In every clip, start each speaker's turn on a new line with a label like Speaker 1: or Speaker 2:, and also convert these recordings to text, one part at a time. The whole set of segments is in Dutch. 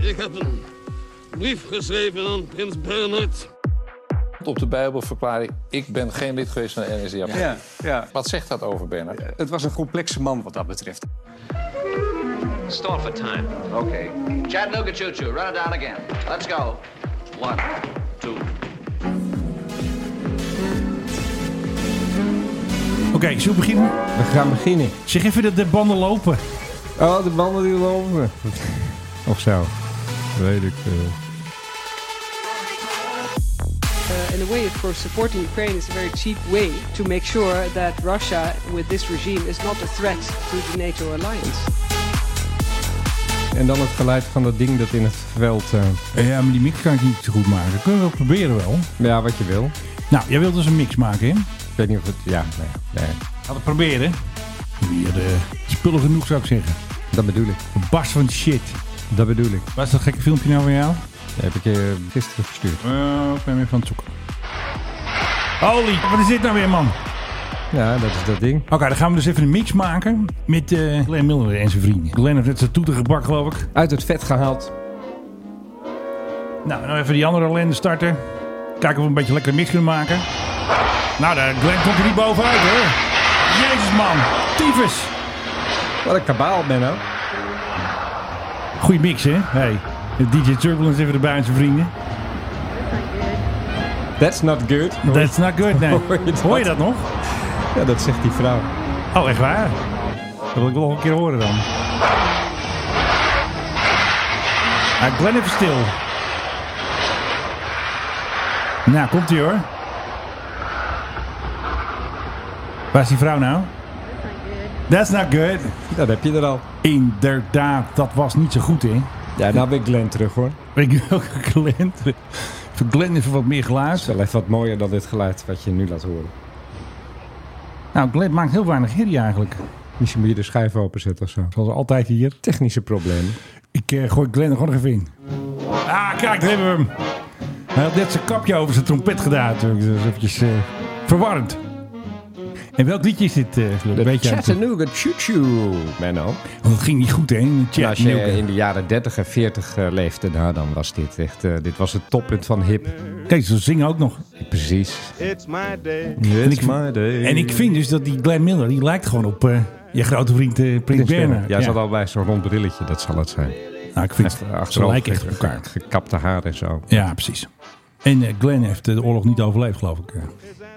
Speaker 1: Ik heb een brief geschreven aan prins Bernhard.
Speaker 2: Op de Bijbel verklaar ik, ik ben geen lid geweest van de NSDAP.
Speaker 3: Ja, ja.
Speaker 2: Wat zegt dat over Bernard?
Speaker 3: Het was een complexe man wat dat betreft.
Speaker 4: Stall for time.
Speaker 5: Okay. Chattanooga Choo Choo, run it down again. Let's go. One, two,
Speaker 6: Oké, zullen we beginnen?
Speaker 7: We gaan beginnen.
Speaker 6: Zeg even dat de banden lopen.
Speaker 7: Oh, de banden die lopen. Of zo. Weet ik eh. veel.
Speaker 8: Uh, in a way, of course, supporting Ukraine is a very cheap way to make sure that Russia, with this regime, is not a threat to the NATO alliance.
Speaker 7: En dan het geluid van dat ding dat in het veld... eh,
Speaker 6: Ja, maar die mix kan ik niet zo goed maken. Dat kunnen we wel proberen wel.
Speaker 7: ja, wat je wil.
Speaker 6: Nou, jij wilt dus een mix maken, hè?
Speaker 7: Ik weet niet of het... Ja, nee. nee.
Speaker 6: Laten we proberen. Hier, eh, spullen genoeg zou ik zeggen.
Speaker 7: Dat bedoel ik.
Speaker 6: Een barst van shit.
Speaker 7: Dat bedoel ik.
Speaker 6: Waar is dat gekke filmpje nou van jou?
Speaker 7: Dat heb ik je gisteren verstuurd.
Speaker 6: Eh, ik ben weer van het zoeken. Holy, wat is dit nou weer, man? Oké,
Speaker 7: Ja, dat is dat ding.
Speaker 6: dan gaan we dus even een mix maken met eh Glenn Miller en zijn vrienden. Glenn heeft net zijn toeter gebak, geloof ik.
Speaker 7: Uit het vet gehaald.
Speaker 6: Nou, nou even die andere ellende starten. Kijken of we een beetje lekker mix kunnen maken. Nou, daar Glenn komt er niet bovenuit, hoor. Jezus, man. Tyfus.
Speaker 7: Wat een kabaal, Benno.
Speaker 6: Goeie mix, hè? Hey, de DJ Turbulence even erbij aan zijn vrienden.
Speaker 7: That's not good.
Speaker 6: That's not good, nee.
Speaker 7: Hoor je dat?
Speaker 6: Hoor je dat nog?
Speaker 7: Ja, dat zegt die vrouw.
Speaker 6: Oh, echt waar? Dat wil ik wel nog een keer horen dan. Ah, Glenn even stil. Nou, komt ie hoor. Waar is die vrouw nou? That's not good.
Speaker 7: Ja, dat heb je er al.
Speaker 6: Inderdaad, dat was niet zo goed, hè?
Speaker 7: Ja, nou ben ik Glenn terug, hoor.
Speaker 6: Weet je welke Glenn? Voor Glenn even wat meer
Speaker 7: Het
Speaker 6: geluid.
Speaker 7: is wel even wat mooier dan dit geluid wat je nu laat horen.
Speaker 6: Nou, Glenn maakt heel weinig herrie eigenlijk.
Speaker 7: Misschien moet je de schijf openzetten of zo.
Speaker 6: Zoals altijd hier.
Speaker 7: Technische problemen.
Speaker 6: Ik eh, gooi Glenn er gewoon nog even in. Ah, kijk, daar hebben we hem. Hij had net zijn kapje over zijn trompet gedaan. natuurlijk. Dat is eventjes eh, verwarrend. En welk liedje is dit? eh Fleur? Weet jij het?
Speaker 7: Chattanooga Choo Choo, Menno.
Speaker 6: Oh, dat ging niet goed, hè? In de
Speaker 7: En
Speaker 6: chat.
Speaker 7: als je
Speaker 6: Nieuwke.
Speaker 7: in de jaren 30 en 40 eh, leefde, nou, dan was dit echt... eh, dit was het toppunt van hip.
Speaker 6: Kijk, ze zingen ook nog.
Speaker 7: Precies.
Speaker 9: It's my day.
Speaker 7: En
Speaker 6: ik- En ik vind dus dat die Glenn Miller, die lijkt gewoon op eh, je grote vriend eh Prins Bernhard.
Speaker 7: Ja, ze eh, had al bij zo'n rond brilletje, dat zal het zijn.
Speaker 6: Nou, ik vind ze
Speaker 7: Achterover
Speaker 6: lijken echt op elkaar.
Speaker 7: gekapte haar en zo.
Speaker 6: Ja, precies. En eh, Glenn heeft eh, de oorlog niet overleefd, geloof ik. eh.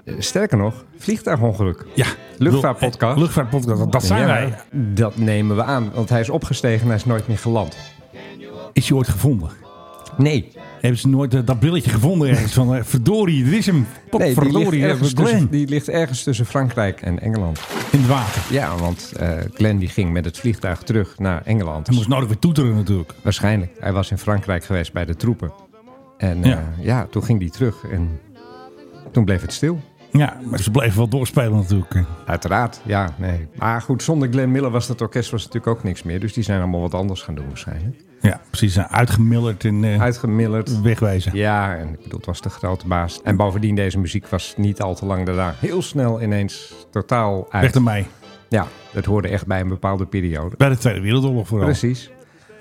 Speaker 7: Eh, Sterker nog, vliegtuigongeluk.
Speaker 6: Ja.
Speaker 7: Luchtvaartpodcast.
Speaker 6: Eh, Luchtvaartpodcast, dat, dat zijn
Speaker 7: Ja,
Speaker 6: wij.
Speaker 7: Dat nemen we aan, want hij is opgestegen en hij is nooit meer geland.
Speaker 6: Is je ooit gevonden?
Speaker 7: Nee,
Speaker 6: Hebben ze nooit eh, dat brilletje gevonden ergens? Van, eh, verdorie, dit is hem.
Speaker 7: nee die,
Speaker 6: Potverdorie,
Speaker 7: ligt
Speaker 6: dat
Speaker 7: ergens
Speaker 6: was Glenn.
Speaker 7: tussen, die ligt ergens tussen Frankrijk en Engeland.
Speaker 6: In het water.
Speaker 7: Ja, want eh Glenn die ging met het vliegtuig terug naar Engeland.
Speaker 6: Hij moest nodig weer toeteren natuurlijk.
Speaker 7: Waarschijnlijk. Hij was in Frankrijk geweest bij de troepen. En eh,
Speaker 6: Ja.
Speaker 7: ja. toen ging hij terug en toen bleef het stil.
Speaker 6: Ja, maar ze bleven wel doorspelen natuurlijk. eh.
Speaker 7: Uiteraard, ja, nee. Maar goed, zonder Glenn Miller was dat orkest was natuurlijk ook niks meer. Dus die zijn allemaal wat anders gaan doen waarschijnlijk.
Speaker 6: Ja, precies. eh, Uitgemilderd en eh,
Speaker 7: Uitgemillerd.
Speaker 6: wegwezen.
Speaker 7: Ja, en ik bedoel, het was de grote baas. En bovendien, deze muziek was niet al te lang daarna heel snel ineens totaal uit.
Speaker 6: Weg ermee.
Speaker 7: Ja, dat hoorde echt bij een bepaalde periode.
Speaker 6: Bij de Tweede Wereldoorlog vooral.
Speaker 7: Precies.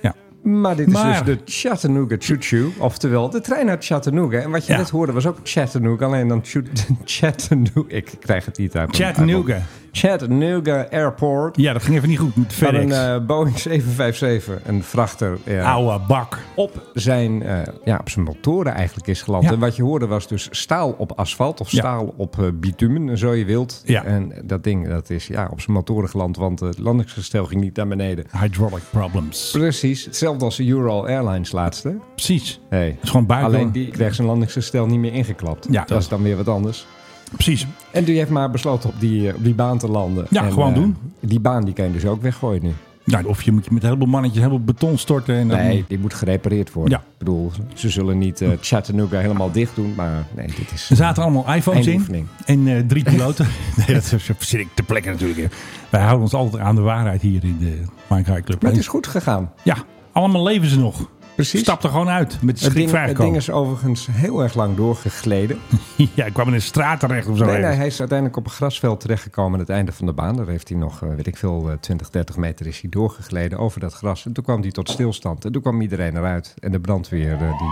Speaker 6: Ja.
Speaker 7: Maar dit
Speaker 6: Maar-
Speaker 7: is dus de Chattanooga Choo Choo, oftewel de trein naar Chattanooga. En wat je
Speaker 6: Ja.
Speaker 7: net hoorde was ook Chattanooga, alleen dan Choo- Chattanooga. Ik krijg het niet uit. mijn-
Speaker 6: Chattanooga.
Speaker 7: uit mijn- Chattanooga Airport.
Speaker 6: Ja, dat ging even niet goed met
Speaker 7: Van een
Speaker 6: FedEx.
Speaker 7: eh, Boeing 757, een vrachter, eh,
Speaker 6: Oude bak. Op.
Speaker 7: zijn, eh, ja, op zijn motoren eigenlijk is geland.
Speaker 6: Ja.
Speaker 7: En wat je hoorde was dus staal op asfalt of
Speaker 6: Ja.
Speaker 7: staal op eh, bitumen, zo je wilt.
Speaker 6: Ja.
Speaker 7: En dat ding dat is ja, op zijn motoren geland, want het landingsgestel ging niet naar beneden.
Speaker 6: Hydraulic problems.
Speaker 7: Precies, hetzelfde als de Ural Airlines laatste.
Speaker 6: Precies.
Speaker 7: Hey.
Speaker 6: is gewoon buiten.
Speaker 7: Alleen die kreeg zijn landingsgestel niet meer ingeklapt.
Speaker 6: Ja,
Speaker 7: dat
Speaker 6: dat-
Speaker 7: is dan weer wat anders.
Speaker 6: Precies.
Speaker 7: En die heeft maar besloten op die, eh, op die baan te landen.
Speaker 6: Ja,
Speaker 7: En,
Speaker 6: gewoon
Speaker 7: eh,
Speaker 6: doen.
Speaker 7: Die baan die kan je dus ook weggooien nu.
Speaker 6: Nou, of je moet met een heleboel mannetjes helemaal beton storten. En dan-
Speaker 7: Nee, die moet gerepareerd worden.
Speaker 6: Ja.
Speaker 7: Ik bedoel, ze zullen niet eh, Chattanooga helemaal dicht doen, maar nee, dit is...
Speaker 6: Er zaten allemaal iPhones in
Speaker 7: Eindoefening.
Speaker 6: en eh, drie piloten. nee, dat is- zit ik ter plekke natuurlijk. hè. Wij houden ons altijd aan de waarheid hier in de Minecraft Club.
Speaker 7: Maar het is goed gegaan.
Speaker 6: Ja, allemaal leven ze nog.
Speaker 7: Precies.
Speaker 6: Stap er gewoon uit met
Speaker 7: Het ding,
Speaker 6: schrikvrij
Speaker 7: het ding is overigens heel erg lang doorgegleden.
Speaker 6: Ja, ik kwam in een straat terecht of zo.
Speaker 7: Nee, nee,
Speaker 6: ergens.
Speaker 7: hij is uiteindelijk op een grasveld terechtgekomen aan het einde van de baan. Daar heeft hij nog, eh, weet ik veel, eh, 20, 30 meter is hij doorgegleden over dat gras. En toen kwam hij tot stilstand. En toen kwam iedereen eruit. En de brandweer, eh, die...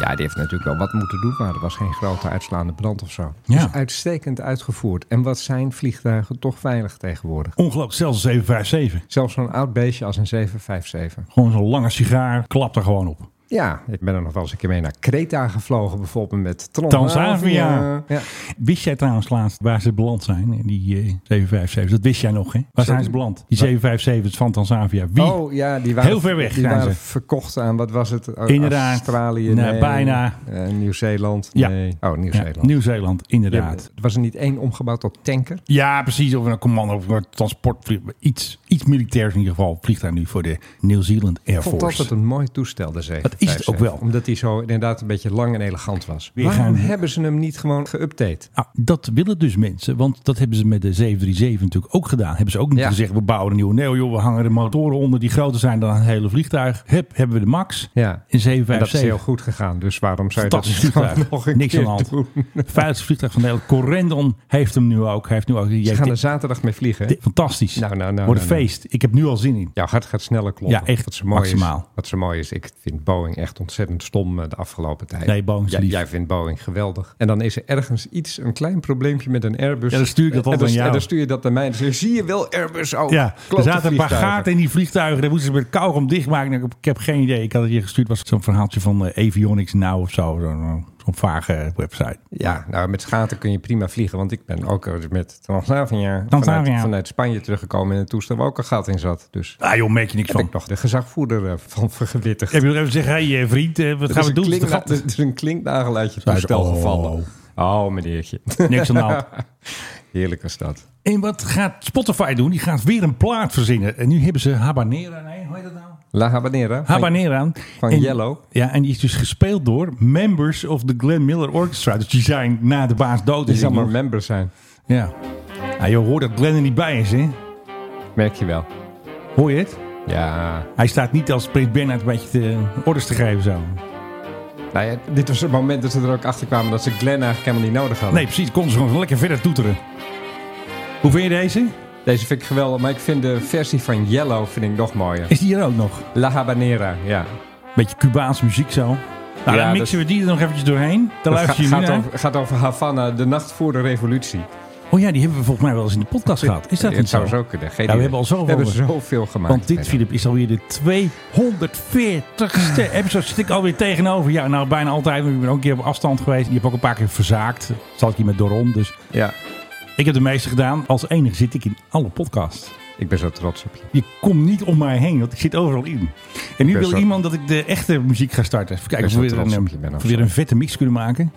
Speaker 7: Ja, die heeft natuurlijk wel wat moeten doen, maar er was geen grote uitslaande brand of zo.
Speaker 6: Ja.
Speaker 7: Dus uitstekend uitgevoerd. En wat zijn vliegtuigen toch veilig tegenwoordig.
Speaker 6: Ongelooflijk, zelfs een 757.
Speaker 7: Zelfs zo'n oud beestje als een 757.
Speaker 6: Gewoon zo'n lange sigaar, klapt er gewoon op.
Speaker 7: Ja, ik ben er nog wel eens een keer mee naar Kreta gevlogen, bijvoorbeeld met Transavia.
Speaker 6: Transavia.
Speaker 7: Ja.
Speaker 6: Wist jij trouwens laatst waar ze beland zijn? In die eh, 757, dat wist jij nog, hè? Waar zijn ze beland? Die 757 van Tanzania. Wie?
Speaker 7: Oh ja, die waren,
Speaker 6: Heel ver weg
Speaker 7: Die
Speaker 6: zijn
Speaker 7: waren
Speaker 6: ze.
Speaker 7: verkocht aan, wat was het? A-
Speaker 6: Inderdaad.
Speaker 7: Australië,
Speaker 6: Nee,
Speaker 7: nee.
Speaker 6: bijna.
Speaker 7: Eh, Nieuw-Zeeland,
Speaker 6: Ja.
Speaker 7: nee. Oh,
Speaker 6: Ja,
Speaker 7: Nieuw-Zeeland.
Speaker 6: Nieuw-Zeeland,
Speaker 7: Ja,
Speaker 6: inderdaad.
Speaker 7: was er niet één omgebouwd tot tanker?
Speaker 6: Ja, precies. Of een commando of een transportvliegtuig. Iets, iets militairs in ieder geval vliegt daar nu voor de New Zealand Air
Speaker 7: Ik vond
Speaker 6: Force.
Speaker 7: altijd een mooi toestel, de 757.
Speaker 6: Dat is het ook wel.
Speaker 7: Omdat hij zo inderdaad een beetje lang en elegant was.
Speaker 6: Weer
Speaker 7: Waarom
Speaker 6: gaan-
Speaker 7: hebben ze hem niet gewoon geüpdate?
Speaker 6: Ah, dat willen dus mensen, want dat hebben ze met de 737 natuurlijk ook gedaan. Hebben ze ook niet
Speaker 7: Ja.
Speaker 6: gezegd, we bouwen een nieuwe. Nee joh, we hangen de motoren onder die groter zijn dan het hele vliegtuig. Hup, hebben we de max in
Speaker 7: Ja. En dat is
Speaker 6: 757.
Speaker 7: heel goed gegaan, dus waarom zou je dat
Speaker 6: Fantastisch
Speaker 7: niet gewoon
Speaker 6: vliegtuig.
Speaker 7: nog een
Speaker 6: Niks aan
Speaker 7: keer
Speaker 6: de hand.
Speaker 7: doen?
Speaker 6: Het veiligste vliegtuig van de hele Corendon heeft hem nu ook. Hij heeft nu ook die
Speaker 7: Ze
Speaker 6: JT
Speaker 7: gaan er zaterdag mee vliegen. hè?
Speaker 6: Fantastisch.
Speaker 7: Nou, nou, nou,
Speaker 6: Wordt
Speaker 7: nou,
Speaker 6: een feest. Ik heb nu al zin in.
Speaker 7: Jouw hart gaat sneller kloppen.
Speaker 6: Ja, echt
Speaker 7: Wat zo mooi Is,
Speaker 6: maximaal.
Speaker 7: wat zo mooi is, ik vind Boeing echt ontzettend stom eh, de afgelopen tijd.
Speaker 6: Nee, Boeing is
Speaker 7: jij,
Speaker 6: lief.
Speaker 7: jij vindt Boeing geweldig. En dan is er ergens iets, een klein probleempje met een Airbus.
Speaker 6: Ja, dan stuur ik dat
Speaker 7: En
Speaker 6: altijd
Speaker 7: dan-
Speaker 6: aan jou.
Speaker 7: En dan stuur je dat naar mij. En dan zeg je, zie je wel Airbus? Oh,
Speaker 6: Ja, er
Speaker 7: klote
Speaker 6: zaten een paar
Speaker 7: vliegtuigen.
Speaker 6: gaten in die vliegtuigen. Daar moesten ze met kauwgom dichtmaken. Nou, Ik heb geen idee. Ik had het je gestuurd. was zo'n verhaaltje van eh, Avionics Now of zo. Zo'n eh, zo'n vage website.
Speaker 7: Ja, nou met schaten kun je prima vliegen. Want ik ben ook eh, met Transavia,
Speaker 6: Transavia.
Speaker 7: Vanuit, vanuit Spanje teruggekomen in een toestel waar ook een gat in zat. Dus
Speaker 6: Ah joh, merk je niks
Speaker 7: heb
Speaker 6: van.
Speaker 7: ik nog de gezagvoerder eh, van vergewittigd.
Speaker 6: Heb je nog even gezegd, hé hey, vriend, eh, wat gaan we doen? Het
Speaker 7: Het
Speaker 6: gat-
Speaker 7: is een klinknagel uit je
Speaker 6: Zei ze,
Speaker 7: toestel
Speaker 6: oh.
Speaker 7: gevallen. Oh, meneertje.
Speaker 6: Niks aan de hand.
Speaker 7: Heerlijk is dat.
Speaker 6: En wat gaat Spotify doen? Die gaat weer een plaat verzinnen. En nu hebben ze Habanera. Nee, hoe heet dat nou?
Speaker 7: La Habanera.
Speaker 6: Habanera.
Speaker 7: van
Speaker 6: En-
Speaker 7: Yellow.
Speaker 6: Ja, en die is dus gespeeld door members of the Glenn Miller Orchestra. Dus die zijn na de baas dood.
Speaker 7: Die zal
Speaker 6: Ik
Speaker 7: maar
Speaker 6: bedoel,
Speaker 7: member zijn.
Speaker 6: Ja. Nou, je hoort dat Glenn er niet bij is, hè?
Speaker 7: Merk je wel.
Speaker 6: Hoor je het?
Speaker 7: Ja.
Speaker 6: Hij staat niet als Prins Bernhard een beetje te, orders te geven zo.
Speaker 7: Nou ja, dit was het moment dat ze er ook achter kwamen dat ze Glenn eigenlijk helemaal niet nodig hadden.
Speaker 6: Nee, precies. Konden ze gewoon lekker verder toeteren. Hoe vind je deze?
Speaker 7: Deze vind ik geweldig, maar ik vind de versie van Yellow vind ik nog mooier.
Speaker 6: Is die hier ook nog?
Speaker 7: La Habanera, ja.
Speaker 6: Beetje Cubaanse muziek zo. Nou,
Speaker 7: Ja,
Speaker 6: dan mixen we die er nog eventjes doorheen. Dan
Speaker 7: Dat
Speaker 6: luister je
Speaker 7: ga-
Speaker 6: nu
Speaker 7: gaat,
Speaker 6: naar.
Speaker 7: over, gaat over Havana, de nacht voor de revolutie.
Speaker 6: Oh ja, die hebben we volgens mij wel eens in de podcast gehad. Is dat
Speaker 7: het
Speaker 6: niet zo?
Speaker 7: zou zo kunnen. Geen
Speaker 6: Ja, we
Speaker 7: idee.
Speaker 6: hebben al zoveel
Speaker 7: We hebben
Speaker 6: over.
Speaker 7: zoveel gemaakt.
Speaker 6: Want dit, Filip, is alweer de
Speaker 7: Ah.
Speaker 6: 240ste episode. Zit ik alweer tegenover. Ja, nou bijna altijd. Want ik ben ook een keer op afstand geweest. Je hebt ook een paar keer verzaakt. Zal ik hier met Doron. Dus
Speaker 7: Ja,
Speaker 6: ik heb de meeste gedaan. Als enige zit ik in alle podcasts.
Speaker 7: ik ben zo trots op je.
Speaker 6: Je komt niet om mij heen, want ik zit overal in. En nu
Speaker 7: Best
Speaker 6: wil
Speaker 7: wel.
Speaker 6: iemand dat ik de echte muziek ga starten. Even kijken of
Speaker 7: Best
Speaker 6: we
Speaker 7: wel
Speaker 6: weer
Speaker 7: trots
Speaker 6: een, eh,
Speaker 7: op je
Speaker 6: of
Speaker 7: ben,
Speaker 6: we
Speaker 7: of
Speaker 6: weer
Speaker 7: zo.
Speaker 6: een vette mix kunnen maken.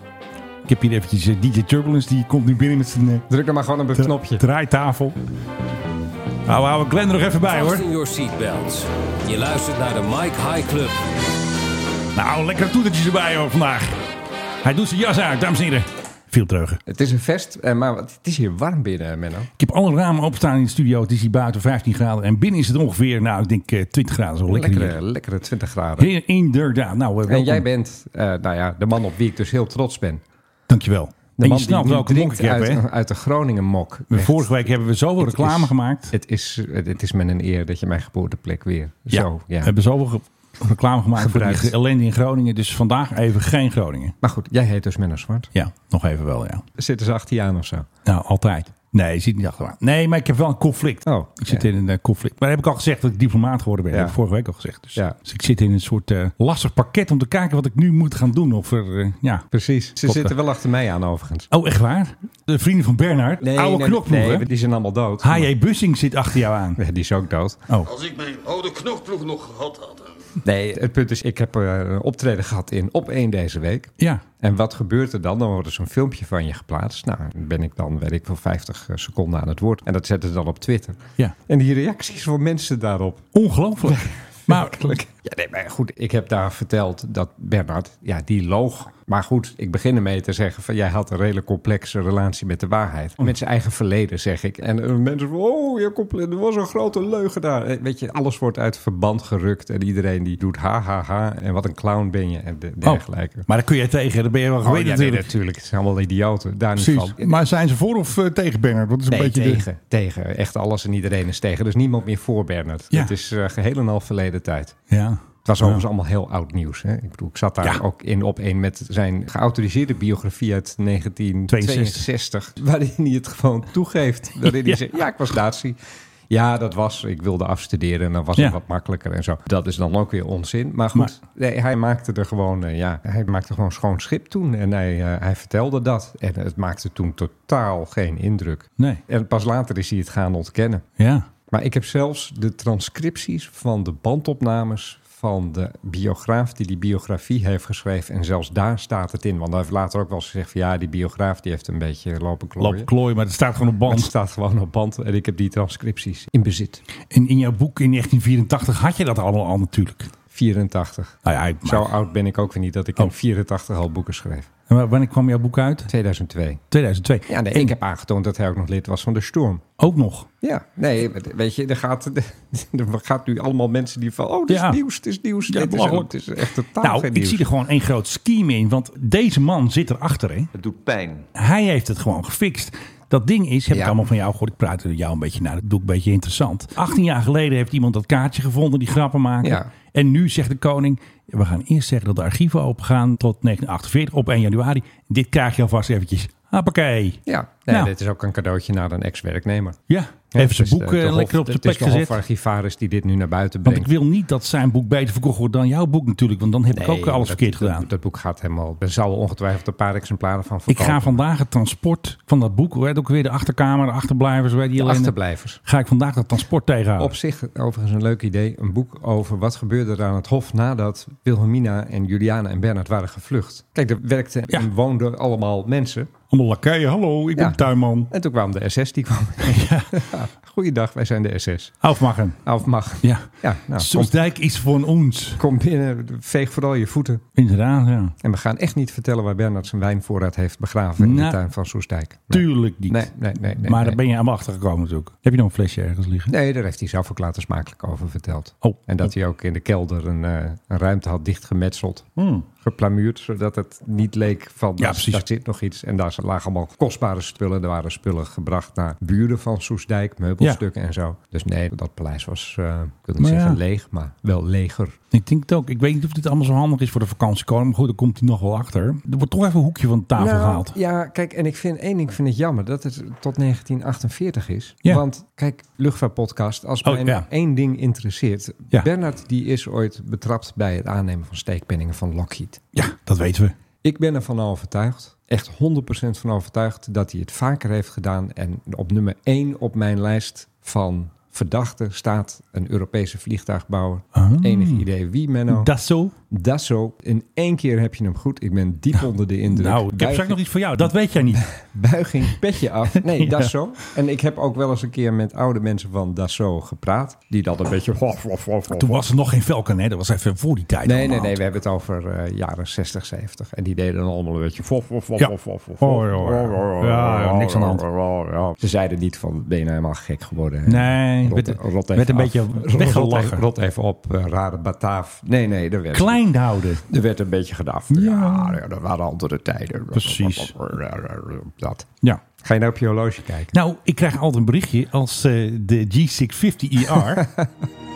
Speaker 6: Ik heb hier eventjes eh, DJ Turbulence, die komt nu binnen met zijn eh,
Speaker 7: Druk dan maar gewoon op het knopje.
Speaker 6: draaitafel. Nou, we houden Glenn er nog even bij hoor.
Speaker 9: Fasten your seatbelts. Je luistert naar de Mike High Club.
Speaker 6: Nou, lekkere toetertjes erbij hoor vandaag. Hij doet zijn jas uit, dames en heren. Veel treugen.
Speaker 7: Het is een vest, eh, maar wat- het is hier warm binnen, Menno.
Speaker 6: Ik heb alle ramen opstaan in de studio. Het is hier buiten 15 graden. En binnen is het ongeveer, nou, ik denk eh, 20 graden. Zo lekker
Speaker 7: Lekkere,
Speaker 6: hier.
Speaker 7: lekkere 20 graden.
Speaker 6: Heer, inderdaad. Nou, eh, welkom.
Speaker 7: En jij bent, eh, nou ja, de man op wie ik dus heel trots ben.
Speaker 6: Dankjewel.
Speaker 7: De
Speaker 6: en
Speaker 7: man
Speaker 6: je snapt
Speaker 7: die nu
Speaker 6: welke monk ik
Speaker 7: drinkt
Speaker 6: heb,
Speaker 7: uit,
Speaker 6: hè?
Speaker 7: uit de Groningen mok.
Speaker 6: We- Vorige week hebben we zoveel
Speaker 7: Het
Speaker 6: reclame
Speaker 7: is-
Speaker 6: gemaakt.
Speaker 7: Het is, het is met een eer dat je mijn geboorteplek weer zo...
Speaker 6: We
Speaker 7: Ja.
Speaker 6: hebben zoveel ge- reclame gemaakt
Speaker 7: Gebruikt.
Speaker 6: voor die ellende in Groningen. Dus vandaag even geen Groningen.
Speaker 7: Maar goed, jij heet dus Menno Zwart.
Speaker 6: Ja, nog even wel, ja.
Speaker 7: Zitten ze achter je aan of zo?
Speaker 6: Nou, altijd. Nee, je ziet niet achter me aan. Nee, maar ik heb wel een conflict.
Speaker 7: Oh,
Speaker 6: ik zit
Speaker 7: ja.
Speaker 6: in een eh, conflict. Maar heb ik al gezegd dat ik diplomaat geworden ben.
Speaker 7: Ja.
Speaker 6: Dat heb ik vorige week al gezegd. Dus,
Speaker 7: Ja.
Speaker 6: dus ik zit in een soort eh, lastig pakket om te kijken wat ik nu moet gaan doen. Of er, eh, ja.
Speaker 7: Precies. Ze
Speaker 6: Klopt,
Speaker 7: zitten wel achter mij aan overigens.
Speaker 6: Oh, echt waar? De vrienden van Bernard, oude
Speaker 7: nee,
Speaker 6: knokploegen.
Speaker 7: nee, die zijn allemaal dood.
Speaker 6: H.J. Bussing zit achter jou aan.
Speaker 7: Ja, die is ook dood.
Speaker 1: Als ik mijn oude knokploeg nog gehad had. hè.
Speaker 7: Nee, het punt is, ik heb eh, een optreden gehad in Op 1 deze week.
Speaker 6: Ja.
Speaker 7: En wat gebeurt er dan? Dan wordt er zo'n filmpje van je geplaatst. Nou, dan ben ik dan, weet ik wel, 50 seconden aan het woord. En dat zetten ze dan op Twitter.
Speaker 6: Ja.
Speaker 7: En die reacties van mensen daarop.
Speaker 6: Ongelooflijk. maar
Speaker 10: Oh.
Speaker 7: Ja, nee, maar goed, ik heb daar verteld dat Bernard, ja, die loog. Maar goed, ik begin ermee te zeggen van jij had een redelijk complexe relatie met de waarheid. Met zijn eigen verleden zeg ik. En eh, mensen van, oh, je compl- er was een grote leugen daar. Eh, Weet je, alles wordt uit verband gerukt en iedereen die doet ha ha ha en wat een clown ben je en de- dergelijke.
Speaker 6: Maar daar kun je tegen, daar ben je wel
Speaker 7: Oh,
Speaker 6: gewend
Speaker 7: ja, nee,
Speaker 6: natuurlijk.
Speaker 7: Oh. natuurlijk. Het zijn allemaal idioten. Daar niet
Speaker 10: Precies.
Speaker 7: van.
Speaker 10: Maar zijn ze voor of eh, tegen Bernard? Dat is een
Speaker 7: Nee,
Speaker 10: beetje de-
Speaker 7: tegen, tegen. Echt alles en iedereen is tegen. Dus niemand meer voor Bernard.
Speaker 6: Ja.
Speaker 7: Het is eh, geheel en al verleden tijd.
Speaker 6: Ja.
Speaker 7: Het was overigens allemaal heel oud nieuws. Hè? Ik bedoel, ik zat daar ook in op één met zijn geautoriseerde biografie uit 1962. Waarin hij het gewoon toegeeft. Waarin hij zegt, ja, ik was Nazi. Ja, dat was, ik wilde afstuderen en dan was
Speaker 6: Ja.
Speaker 7: het wat makkelijker en zo. Dat is dan ook weer onzin. Maar goed, nee, hij maakte er gewoon, eh, ja, hij maakte gewoon schoon schip toen. En hij, eh, hij vertelde dat. En het maakte toen totaal geen indruk.
Speaker 6: Nee.
Speaker 7: En pas later is hij het gaan ontkennen.
Speaker 6: Ja.
Speaker 7: Maar ik heb zelfs de transcripties van de bandopnames van de biograaf die die biografie heeft geschreven. En zelfs daar staat het in. Want hij heeft later ook wel eens gezegd van ja, die biograaf die heeft een beetje lopen klooien.
Speaker 6: Loop klooi, maar het staat gewoon op
Speaker 7: Maar het
Speaker 6: band.
Speaker 7: staat gewoon op band en ik heb die transcripties in bezit.
Speaker 6: En in jouw boek in 1984 had je dat allemaal al natuurlijk.
Speaker 7: 84.
Speaker 6: Nou ja, maar-
Speaker 7: Zo oud ben ik ook weer niet dat ik in 84 al boeken schreef.
Speaker 6: En wa- wanneer kwam jouw boek uit?
Speaker 7: 2002.
Speaker 6: 2002.
Speaker 7: Ja, nee,
Speaker 6: En
Speaker 7: ik heb aangetoond dat hij ook nog lid was van de Storm.
Speaker 6: ook nog.
Speaker 7: Ja, nee, weet je, er gaat, er gaat nu allemaal mensen die van... oh, dit is
Speaker 6: Ja.
Speaker 7: nieuws, dit is nieuws. dit is,
Speaker 6: belachelijk.
Speaker 7: het is echt totaal
Speaker 6: Nou,
Speaker 7: Oh, geen
Speaker 6: ik
Speaker 7: nieuws.
Speaker 6: zie er gewoon één groot scheme in. Want deze man zit erachter, hè?
Speaker 5: Het doet pijn.
Speaker 6: Hij heeft het gewoon gefixt. Dat ding is, heb ik
Speaker 7: Ja.
Speaker 6: allemaal van jou gehoord. Ik praat er jou een beetje naar. Dat doe ik een beetje interessant. 18 jaar geleden heeft iemand dat kaartje gevonden, die grappen maken.
Speaker 7: Ja.
Speaker 6: En nu zegt de koning, we gaan eerst zeggen dat de archieven opengaan tot 1948 op 1 januari. Dit krijg je alvast eventjes. Hoppakee.
Speaker 7: Ja, nee,
Speaker 6: Nou.
Speaker 7: dit is ook een cadeautje naar een ex-werknemer.
Speaker 6: Ja,
Speaker 7: Ja,
Speaker 6: even zijn
Speaker 7: het is
Speaker 6: boek
Speaker 7: de-
Speaker 6: eh,
Speaker 7: de hof-
Speaker 6: lekker op
Speaker 7: het
Speaker 6: zijn plek
Speaker 7: is de
Speaker 6: gezet.
Speaker 7: hofarchivaris die dit nu naar buiten
Speaker 6: Want
Speaker 7: brengt.
Speaker 6: ik wil niet dat zijn boek beter verkocht wordt dan jouw boek natuurlijk. Want dan heb ik
Speaker 7: Nee,
Speaker 6: ook alles
Speaker 7: dat-
Speaker 6: verkeerd
Speaker 7: dat-
Speaker 6: gedaan.
Speaker 7: Dat, boek gaat helemaal... Er zouden ongetwijfeld een paar exemplaren van
Speaker 6: ik
Speaker 7: verkopen.
Speaker 6: ga vandaag het transport van dat boek. Hoe heet het ook weer de achterkamer, de achterblijvers. Weet die
Speaker 7: De
Speaker 6: alleen,
Speaker 7: achterblijvers.
Speaker 6: Ga ik vandaag dat transport tegenhouden.
Speaker 7: Op zich overigens een leuk idee. Een boek over wat gebeurde er aan het hof nadat Wilhelmina en Juliana en Bernard waren gevlucht. Kijk, er werkten
Speaker 6: Ja.
Speaker 7: en woonden allemaal mensen.
Speaker 6: Allemaal lakeien. Hallo, ik
Speaker 7: Ja.
Speaker 6: ben tuinman.
Speaker 7: En toen kwam de SS, die kwam. Ja. Goeiedag, wij zijn de SS.
Speaker 6: Aufmachen.
Speaker 7: Of mag.
Speaker 6: Ja.
Speaker 7: Ja, nou, kom,
Speaker 6: Soesdijk is van ons.
Speaker 7: kom binnen, veeg vooral je voeten.
Speaker 6: Inderdaad, ja.
Speaker 7: En we gaan echt niet vertellen waar Bernard zijn wijnvoorraad heeft begraven in
Speaker 6: Nou,
Speaker 7: de tuin van Soestdijk. Nee.
Speaker 6: Tuurlijk niet.
Speaker 7: Nee, nee, nee.
Speaker 6: maar
Speaker 7: nee
Speaker 6: daar
Speaker 7: nee.
Speaker 6: ben je aan achtergekomen natuurlijk. Heb je nog een flesje ergens liggen?
Speaker 7: Nee, daar heeft hij zelf ook later smakelijk over verteld.
Speaker 6: Oh.
Speaker 7: En dat hij ook in de kelder een, eh, een ruimte had dichtgemetseld.
Speaker 6: hmm.
Speaker 7: Geplamuurd, zodat het niet leek van
Speaker 6: Ja,
Speaker 7: daar-
Speaker 6: precies.
Speaker 7: daar zit nog iets. En daar lagen allemaal kostbare spullen. Er waren spullen gebracht naar buren van Soestdijk, meubelstukken en zo. Dus nee, dat paleis was, eh, ik wil niet
Speaker 6: Maar
Speaker 7: zeggen
Speaker 6: ja.
Speaker 7: leeg, maar wel leger.
Speaker 6: Ik denk het ook. Ik weet niet of dit allemaal zo handig is voor de vakantiekoning. Maar goed, daar komt hij nog wel achter. Er wordt toch even een hoekje van de tafel
Speaker 7: Nou,
Speaker 6: gehaald.
Speaker 7: Ja, kijk, en ik vind één ding vind ik jammer dat het tot 1948 is.
Speaker 6: Ja.
Speaker 7: Want kijk, luchtvaartpodcast, als
Speaker 6: Oh,
Speaker 7: mij
Speaker 6: ja.
Speaker 7: één ding interesseert.
Speaker 6: Ja.
Speaker 7: Bernard die is ooit betrapt bij het aannemen van steekpenningen van Lockheed.
Speaker 6: Ja, dat weten we.
Speaker 7: Ik ben ervan overtuigd, echt 100% van overtuigd, dat hij het vaker heeft gedaan. En op nummer 1 op mijn lijst van verdachten staat een Europese vliegtuigbouwer.
Speaker 6: Ah.
Speaker 7: Enig idee wie, Menno?
Speaker 6: Dat zo.
Speaker 7: Dasso. In één keer heb je hem goed. Ik ben diep onder de indruk.
Speaker 6: Nou, ik heb
Speaker 7: Buiging-
Speaker 6: straks nog iets voor jou. Dat weet jij niet.
Speaker 7: buiging, petje af. Nee, dat is zo. En ik heb ook wel eens een keer met oude mensen van Dassault gepraat. Die dat een beetje...
Speaker 6: Toen was er nog geen Falcon, hè? Dat was even voor die tijd.
Speaker 7: Nee, nee,
Speaker 6: allemaal.
Speaker 7: nee. We hebben het over eh, jaren 60, 70. En die deden dan allemaal een beetje...
Speaker 6: Ja. Oh, ja, ja. Ja, ja, niks aan de hand.
Speaker 7: Ze zeiden niet van, ben je nou helemaal gek geworden? hè?
Speaker 6: Nee,
Speaker 7: Rot-
Speaker 6: werd-
Speaker 7: rot even
Speaker 6: werd een
Speaker 7: af.
Speaker 6: beetje
Speaker 7: Rot- rot-
Speaker 6: weggelachen.
Speaker 7: Rot even op, eh, rare Bataaf. Nee, nee, er werd,
Speaker 6: Klein houden.
Speaker 7: er werd een beetje gedacht. Ja, ja, dat waren andere tijden.
Speaker 6: Precies.
Speaker 7: Dat.
Speaker 6: Ja.
Speaker 7: Ga je nou op je horloge kijken?
Speaker 6: Nou, ik krijg altijd een berichtje als eh, de G650ER... E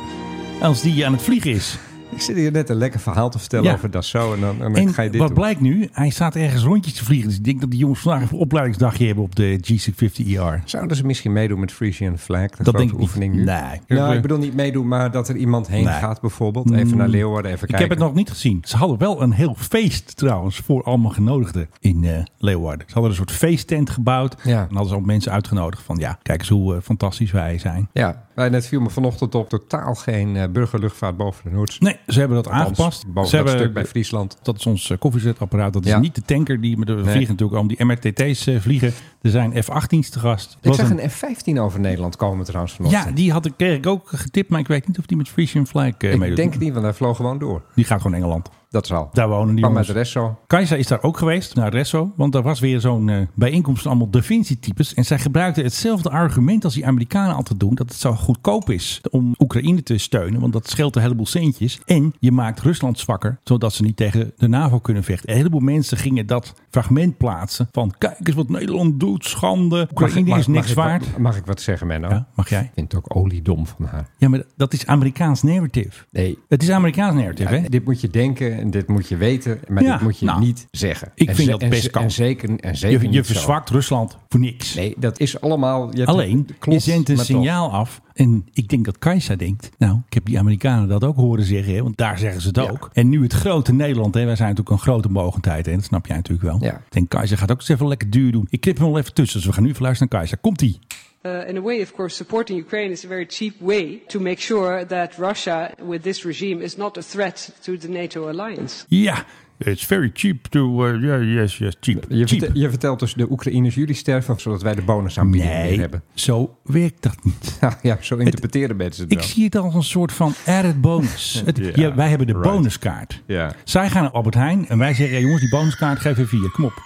Speaker 6: als die aan het vliegen is.
Speaker 7: Ik zit hier net een lekker verhaal te vertellen
Speaker 6: Ja.
Speaker 7: over Dassault en dan, en dan
Speaker 6: En
Speaker 7: ga je
Speaker 6: wat
Speaker 7: dit doen.
Speaker 6: blijkt nu? Hij staat ergens rondjes te vliegen. Dus ik denk dat die jongens vandaag even een opleidingsdagje hebben op de G650ER.
Speaker 7: Zouden ze misschien meedoen met Frisian Flag? De
Speaker 6: Dat E
Speaker 7: grote
Speaker 6: denk ik niet.
Speaker 7: oefening
Speaker 6: Nee.
Speaker 7: nu. Nou, ik bedoel niet meedoen, maar dat er iemand heen
Speaker 6: Nee. Mm.
Speaker 7: gaat bijvoorbeeld. Even naar Leeuwarden, even
Speaker 6: Ik
Speaker 7: kijken.
Speaker 6: heb het nog niet gezien. Ze hadden wel een heel feest trouwens voor allemaal genodigden in eh, Leeuwarden. Ze hadden een soort feesttent gebouwd.
Speaker 7: Ja.
Speaker 6: En hadden ze ook mensen uitgenodigd van ja, kijk eens hoe eh, fantastisch wij zijn.
Speaker 7: Ja, maar net viel me vanochtend op totaal geen eh, burgerluchtvaart boven de Noordzee.
Speaker 6: Nee, ze hebben dat aangepast.
Speaker 7: Boven
Speaker 6: ze
Speaker 7: dat
Speaker 6: hebben,
Speaker 7: stuk bij Friesland.
Speaker 6: Dat is ons eh, koffiezetapparaat. Dat is
Speaker 7: Ja.
Speaker 6: niet de tanker die met de vliegen natuurlijk om die MRTT's eh, vliegen. Er zijn F-18's te gast.
Speaker 7: Ik
Speaker 6: Was
Speaker 7: zag
Speaker 6: een-
Speaker 7: een F-15 over Nederland komen trouwens vanochtend.
Speaker 6: ja, die had ik, kreeg ik ook getipt, maar ik weet niet of die met Frisian Flag eh
Speaker 7: ik
Speaker 6: meedoet.
Speaker 7: denk niet, want hij vloog gewoon door.
Speaker 6: Die gaat gewoon Engeland.
Speaker 7: Dat is al.
Speaker 6: Daar wonen die
Speaker 7: Kwam uit
Speaker 6: jongens.
Speaker 7: Resso.
Speaker 6: Kajsa is daar ook geweest, naar Resso. Want daar was weer zo'n eh, bijeenkomst van allemaal Da Vinci-types. En zij gebruikten hetzelfde argument als die Amerikanen altijd doen. Dat het zo goedkoop is om Oekraïne te steunen. Want dat scheelt een heleboel centjes. En je maakt Rusland zwakker, zodat ze niet tegen de NAVO kunnen vechten. Een heleboel mensen gingen dat fragment plaatsen. Van kijk eens wat Nederland doet, schande. Oekraïne is niks
Speaker 7: ik wat-
Speaker 6: waard.
Speaker 7: mag ik wat zeggen, Menno?
Speaker 6: Ja, mag jij?
Speaker 7: Ik vind het ook oliedom van haar.
Speaker 6: Ja, maar dat is Amerikaans narrative.
Speaker 7: Nee.
Speaker 6: Het is Amerikaans narrative, hè?
Speaker 7: Dit moet je denken en dit moet je weten, maar
Speaker 6: Ja,
Speaker 7: dit moet je
Speaker 6: nou,
Speaker 7: niet zeggen.
Speaker 6: ik
Speaker 7: En
Speaker 6: vind
Speaker 7: ze-
Speaker 6: dat
Speaker 7: en
Speaker 6: best
Speaker 7: ze-
Speaker 6: kan.
Speaker 7: En zeker, en zeker
Speaker 6: Je, je
Speaker 7: niet zo.
Speaker 6: verzwakt Rusland voor niks.
Speaker 7: Nee, dat is allemaal... je hebt-
Speaker 6: Alleen, je
Speaker 7: klopt,
Speaker 6: zendt een
Speaker 7: maar toch.
Speaker 6: signaal af. En ik denk dat Kajsa denkt, nou, ik heb die Amerikanen dat ook horen zeggen. hè, Want daar zeggen ze het ook. En nu het grote Nederland, hè, wij zijn natuurlijk een grote mogendheid. En dat snap jij natuurlijk wel.
Speaker 7: Ja.
Speaker 6: Ik denk, Kajsa gaat ook eens even lekker duur doen. Ik knip hem wel even tussen. Dus we gaan nu even luisteren naar Kajsa. Komt-ie.
Speaker 8: Uh, in a way, of course, supporting Ukraine is a very cheap way to make sure that Russia, with this regime, is not a threat to the NATO alliance.
Speaker 6: Ja. It's very cheap to... Uh, yeah, yes, yes, cheap.
Speaker 7: Je,
Speaker 6: cheap.
Speaker 7: vertelt, je vertelt dus de Oekraïners jullie sterven, zodat wij de bonus aanbieding
Speaker 6: nee,
Speaker 7: weer hebben.
Speaker 6: zo werkt dat niet.
Speaker 7: Ja, ja, zo interpreteren mensen het
Speaker 6: Ik
Speaker 7: wel.
Speaker 6: zie het als een soort van added bonus. Het-
Speaker 7: Ja,
Speaker 6: ja, wij hebben de
Speaker 7: right.
Speaker 6: bonuskaart.
Speaker 7: Ja.
Speaker 6: Zij gaan naar Albert Heijn en wij zeggen... "Ja, jongens, die bonuskaart geef even vier, kom op.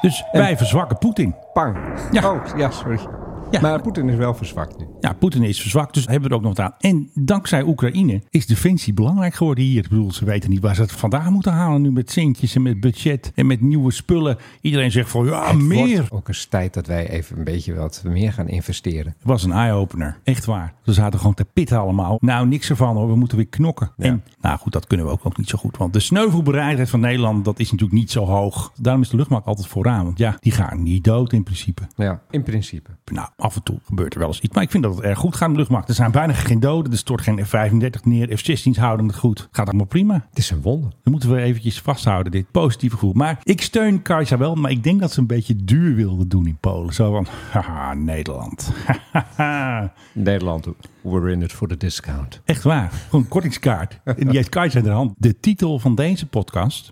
Speaker 6: Dus wij verzwakken Poetin.
Speaker 7: Pang.
Speaker 6: Ja.
Speaker 7: Oh, ja, sorry.
Speaker 6: Ja.
Speaker 7: Maar Poetin is wel verzwakt nu.
Speaker 6: Ja, Poetin is verzwakt, dus hebben we er ook nog wat aan. En dankzij Oekraïne is defensie belangrijk geworden hier. Ik bedoel, ze weten niet waar ze het vandaan moeten halen nu met centjes en met budget en met nieuwe spullen. Iedereen zegt van ja,
Speaker 7: Het
Speaker 6: meer.
Speaker 7: wordt ook eens tijd dat wij even een beetje wat meer gaan investeren.
Speaker 6: Het was een eye-opener. Echt waar. Ze zaten gewoon te pitten allemaal. Nou, niks ervan hoor. We moeten weer knokken. En nou goed, dat kunnen we ook nog niet zo goed. Want de sneuvelbereidheid van Nederland, dat is natuurlijk niet zo hoog. Daarom is de luchtmacht altijd vooraan. Want ja, die gaan niet dood in principe.
Speaker 7: Ja, in principe.
Speaker 6: Nou, af en toe gebeurt er wel eens iets. Maar ik vind dat het erg goed gaat in de luchtmacht. Er zijn bijna geen doden. Er stort geen F-35 neer. F-16's houden het goed. Gaat allemaal prima.
Speaker 7: Het is een wonder.
Speaker 6: Dan moeten we eventjes vasthouden, dit positieve gevoel. Maar ik steun Kajsa wel, maar ik denk dat ze een beetje duur wilde doen in Polen. Zo van, haha, Nederland. Hahaha.
Speaker 7: Nederland, we're in it for the discount. 40%
Speaker 6: Echt waar. Gewoon een kortingskaart. En die heeft Kajsa in de hand. De titel van deze podcast.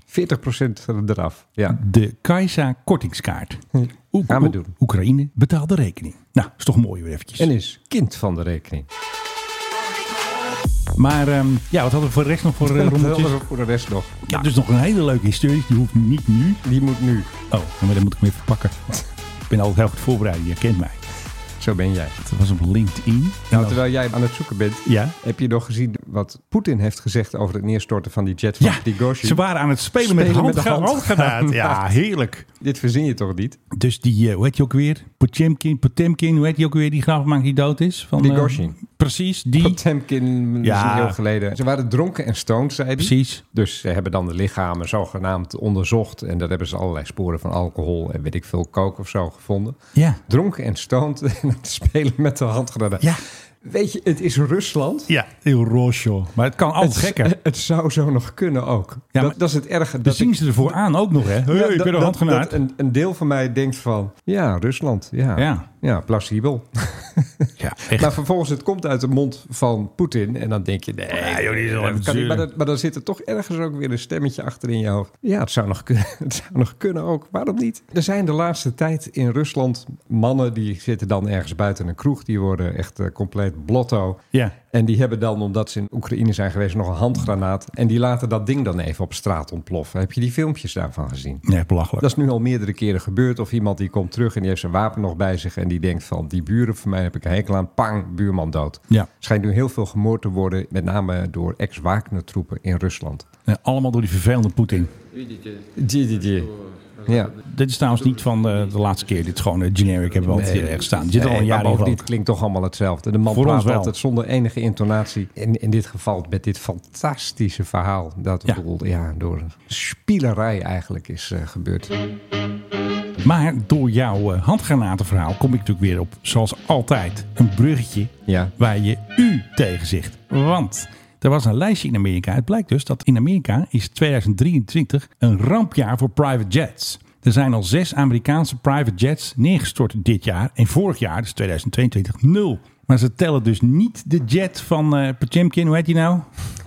Speaker 7: eraf. Ja.
Speaker 6: De Kajsa kortingskaart. Oek-
Speaker 7: Hm. Gaan we doen.
Speaker 6: Oekraïne betaalt de rekening. Nou, is toch mooi weer eventjes.
Speaker 7: En is kind van de rekening.
Speaker 6: Maar ehm, ja, wat hadden we voor de rest nog voor eh, rommeltjes?
Speaker 7: Helder voor de rest nog.
Speaker 6: Ik heb dus nog een hele leuke historie. Die hoeft niet nu.
Speaker 7: Die moet nu.
Speaker 6: Oh, maar dan moet ik hem even pakken. ik ben altijd heel goed voorbereid. Je kent mij.
Speaker 7: Zo ben jij.
Speaker 6: Dat was op LinkedIn.
Speaker 7: Nou, terwijl jij aan het zoeken bent,
Speaker 6: Ja.
Speaker 7: heb je nog gezien wat Poetin heeft gezegd over het neerstorten van die jet van
Speaker 6: Ja,
Speaker 7: Prigozhin?
Speaker 6: ze waren aan het spelen, met,
Speaker 7: Spelen
Speaker 6: hand,
Speaker 7: met de hand.
Speaker 6: handgranaat. Ja, heerlijk.
Speaker 7: Dit verzin je toch niet?
Speaker 6: Dus die, eh, hoe heet je ook weer? Potemkin, Potemkin, hoe heet die ook weer? Die grafmaak die dood is? Van,
Speaker 7: Prigozhin.
Speaker 6: eh, precies, die.
Speaker 7: Potemkin
Speaker 6: Ja.
Speaker 7: is een eeuw geleden. Ze waren dronken en stoned, zei hij.
Speaker 6: Precies.
Speaker 7: Dus ze hebben dan de lichamen zogenaamd onderzocht. En daar hebben ze allerlei sporen van alcohol en weet ik veel, kook of zo gevonden.
Speaker 6: Ja.
Speaker 7: Dronken en stoned en aan het spelen met de handgranaten.
Speaker 6: Ja.
Speaker 7: Weet je, het is Rusland.
Speaker 6: Ja, heel roosje. Maar het kan altijd gekker.
Speaker 7: Het, het zou zo nog kunnen ook.
Speaker 6: Oh, maar-
Speaker 7: dat, dat is het erge.
Speaker 6: Dan
Speaker 7: Dat
Speaker 6: zien ze ervoor aan ook nog, hè? Hey,
Speaker 7: Ja,
Speaker 6: ik
Speaker 7: dat-
Speaker 6: ben een
Speaker 7: dat- dat
Speaker 6: handgranaat.
Speaker 7: een, een deel van mij denkt van, ja, Rusland, ja,
Speaker 6: Ja.
Speaker 7: ja. plausibel.
Speaker 6: Ja, echt.
Speaker 7: Maar vervolgens, het komt uit de mond van Poetin en dan denk je, nee,
Speaker 6: Ja, joh, die is al even
Speaker 7: dat kan niet.
Speaker 6: zeuren.
Speaker 7: maar, dat- maar dan zit er toch ergens ook weer een stemmetje achter in je hoofd. Ja, het zou nog kunnen, het zou nog kunnen ook, waarom niet? Er zijn de laatste tijd in Rusland mannen die zitten dan ergens buiten een kroeg, die worden echt eh, compleet blotto.
Speaker 6: Ja.
Speaker 7: En die hebben dan, omdat ze in Oekraïne zijn geweest, nog een handgranaat. En die laten dat ding dan even op straat ontploffen. Heb je die filmpjes daarvan gezien?
Speaker 6: Nee, belachelijk.
Speaker 7: Dat is nu al meerdere keren gebeurd. Of iemand die komt terug en die heeft zijn wapen nog bij zich. En die denkt van, die buren van mij heb ik een hekel aan. Pang, buurman dood.
Speaker 6: Ja.
Speaker 7: Schijnt nu heel veel gemoord te worden. Met name door ex-Wagner troepen in Rusland.
Speaker 6: Ja, allemaal door die vervelende Poetin.
Speaker 7: Ja.
Speaker 6: Dit is trouwens niet van eh, de laatste keer. Dit is gewoon eh, generic hebben we al eerder ergens staan. Dit zit al
Speaker 7: Nee,
Speaker 6: een
Speaker 7: maar
Speaker 6: jaar in
Speaker 7: bovendien
Speaker 6: rook.
Speaker 7: het Eh, klinkt toch allemaal hetzelfde. De man
Speaker 6: Voor ons
Speaker 7: praat
Speaker 6: wel.
Speaker 7: altijd zonder enige intonatie. En in dit geval met dit fantastische verhaal. Dat
Speaker 6: Ja.
Speaker 7: bedoel, ja, door een spielerij eigenlijk is eh, gebeurd.
Speaker 6: Maar door jouw eh, handgranatenverhaal kom ik natuurlijk weer op, zoals altijd, een bruggetje
Speaker 7: Ja.
Speaker 6: waar je u tegen zegt. Want er was een lijstje in Amerika. Het blijkt dus dat in Amerika is 2023 een rampjaar voor private jets. Er zijn al zes Amerikaanse private jets neergestort dit jaar en vorig jaar, dus 2022, nul. Maar ze tellen dus niet de jet van eh Potemkin, hoe heet die nou?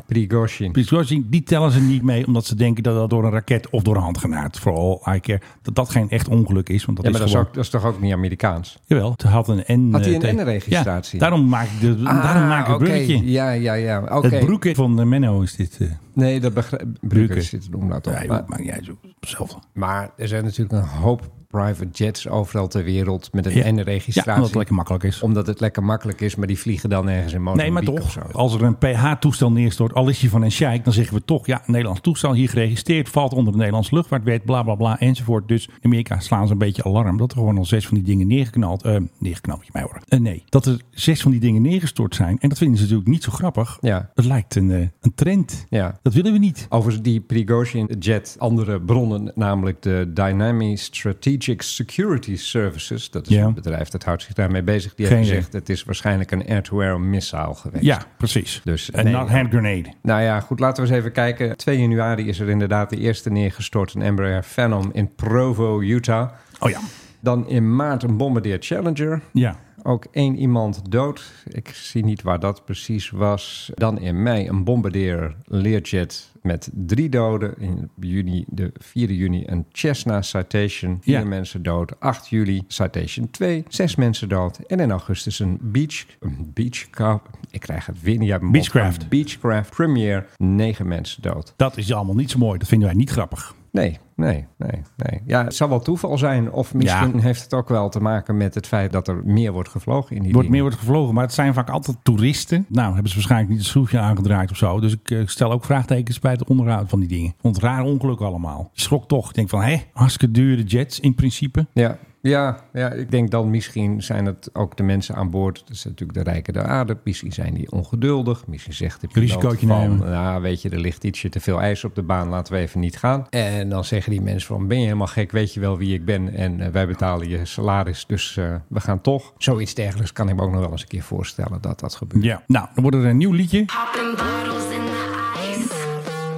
Speaker 7: Prigozhin.
Speaker 6: Prigozhin, die tellen ze niet mee, omdat ze denken dat dat door een raket of door een handgranaat, vooral I care, dat dat geen echt ongeluk is. Want dat
Speaker 7: Ja,
Speaker 6: is
Speaker 7: maar dat is,
Speaker 6: gewoon...
Speaker 7: ook, dat is toch ook niet Amerikaans?
Speaker 6: Jawel, het had een N.
Speaker 7: Had hij een
Speaker 6: eh, teken.
Speaker 7: N-registratie?
Speaker 6: Ja, daarom maak ik, de, daarom maak ik het
Speaker 7: Ah, oké.
Speaker 6: Ah, bruggetje.
Speaker 7: Ja, ja, ja. Oké.
Speaker 6: Het broekje van eh, Menno is dit. eh.
Speaker 7: Nee, dat begrijp
Speaker 6: Bruken.
Speaker 7: ik. zit een omlaag op.
Speaker 6: Ja,
Speaker 7: maar,
Speaker 6: joh, maar jij zo zelf.
Speaker 7: maar er zijn natuurlijk een hoop private jets overal ter wereld met een
Speaker 6: Ja.
Speaker 7: N-registratie.
Speaker 6: Ja, omdat het lekker makkelijk is.
Speaker 7: Omdat het lekker makkelijk is, maar die vliegen dan ergens in
Speaker 6: Nee,
Speaker 7: Mozambique
Speaker 6: maar
Speaker 7: of zo.
Speaker 6: toch, als er een PH-toestel neerstort, al is je van een sheik, dan zeggen we toch, ja, een Nederlands toestel hier geregistreerd, valt onder de Nederlandse luchtvaartwet, bla bla bla enzovoort. Dus in Amerika slaan ze een beetje alarm dat er gewoon al zes van die dingen neergeknald, eh neergeknald moet je mij horen. Eh, nee, dat er zes van die dingen neergestort zijn. En dat vinden ze natuurlijk niet zo grappig.
Speaker 7: Ja.
Speaker 6: Het lijkt een, eh, een trend.
Speaker 7: Ja.
Speaker 6: Dat willen we niet.
Speaker 7: Over die Prigozhin Jet, andere bronnen, namelijk de Dynamic Strategic Security Services. Dat is
Speaker 6: Ja.
Speaker 7: een bedrijf dat houdt zich daarmee bezig. Die
Speaker 6: Geen
Speaker 7: heeft
Speaker 6: idee.
Speaker 7: gezegd, het is waarschijnlijk een air-to-air missile geweest.
Speaker 6: Ja, precies.
Speaker 7: Dus,
Speaker 6: een
Speaker 7: nee.
Speaker 6: not hand grenade.
Speaker 7: Nou ja, goed, laten we eens even kijken. 2 januari is er inderdaad de eerste neergestort, een Embraer Phenom in Provo, Utah.
Speaker 6: Oh ja.
Speaker 7: Dan in maart een Bombardier Challenger.
Speaker 6: Ja.
Speaker 7: Ook één iemand dood. Ik zie niet waar dat precies was. Dan in mei een bombardeer Learjet met drie doden. In juni, de 4 juni, een Cessna Citation. Vier
Speaker 6: Ja.
Speaker 7: mensen dood. 8 juli, Citation 2. Zes mensen dood. En in augustus een Beach... Een beachcraft. Ik krijg het weer niet uit mijn mond.
Speaker 6: Beechcraft.
Speaker 7: Beechcraft Premier. Negen mensen dood.
Speaker 6: Dat is allemaal niet zo mooi. Dat vinden wij niet grappig.
Speaker 7: Nee, nee, nee, nee. Ja, het zal wel toeval zijn. Of misschien
Speaker 6: Ja.
Speaker 7: heeft het ook wel te maken met het feit dat er meer wordt gevlogen in die
Speaker 6: wordt meer
Speaker 7: dingen.
Speaker 6: wordt gevlogen, maar het zijn vaak altijd toeristen. Nou, hebben ze waarschijnlijk niet het schroefje aangedraaid of zo. Dus ik eh, stel ook vraagtekens bij het onderhoud van die dingen. Want raar ongeluk allemaal. Je schrok toch. Ik denk van, hé, hartstikke dure jets in principe.
Speaker 7: Ja, ja, ja, ik denk dan misschien zijn het ook de mensen aan boord. Dat zijn natuurlijk de rijken der aarde. Misschien zijn die ongeduldig. Misschien zegt de piloot
Speaker 6: Risicootje
Speaker 7: van...
Speaker 6: nemen.
Speaker 7: Nou, weet je, er ligt ietsje te veel ijs op de baan. Laten we even niet gaan. En dan zeggen die mensen van... Ben je helemaal gek? Weet je wel wie ik ben? En eh, wij betalen je salaris, dus eh, we gaan toch. Zoiets dergelijks kan ik me ook nog wel eens een keer voorstellen dat dat gebeurt.
Speaker 6: Ja. Nou, dan wordt er een nieuw liedje.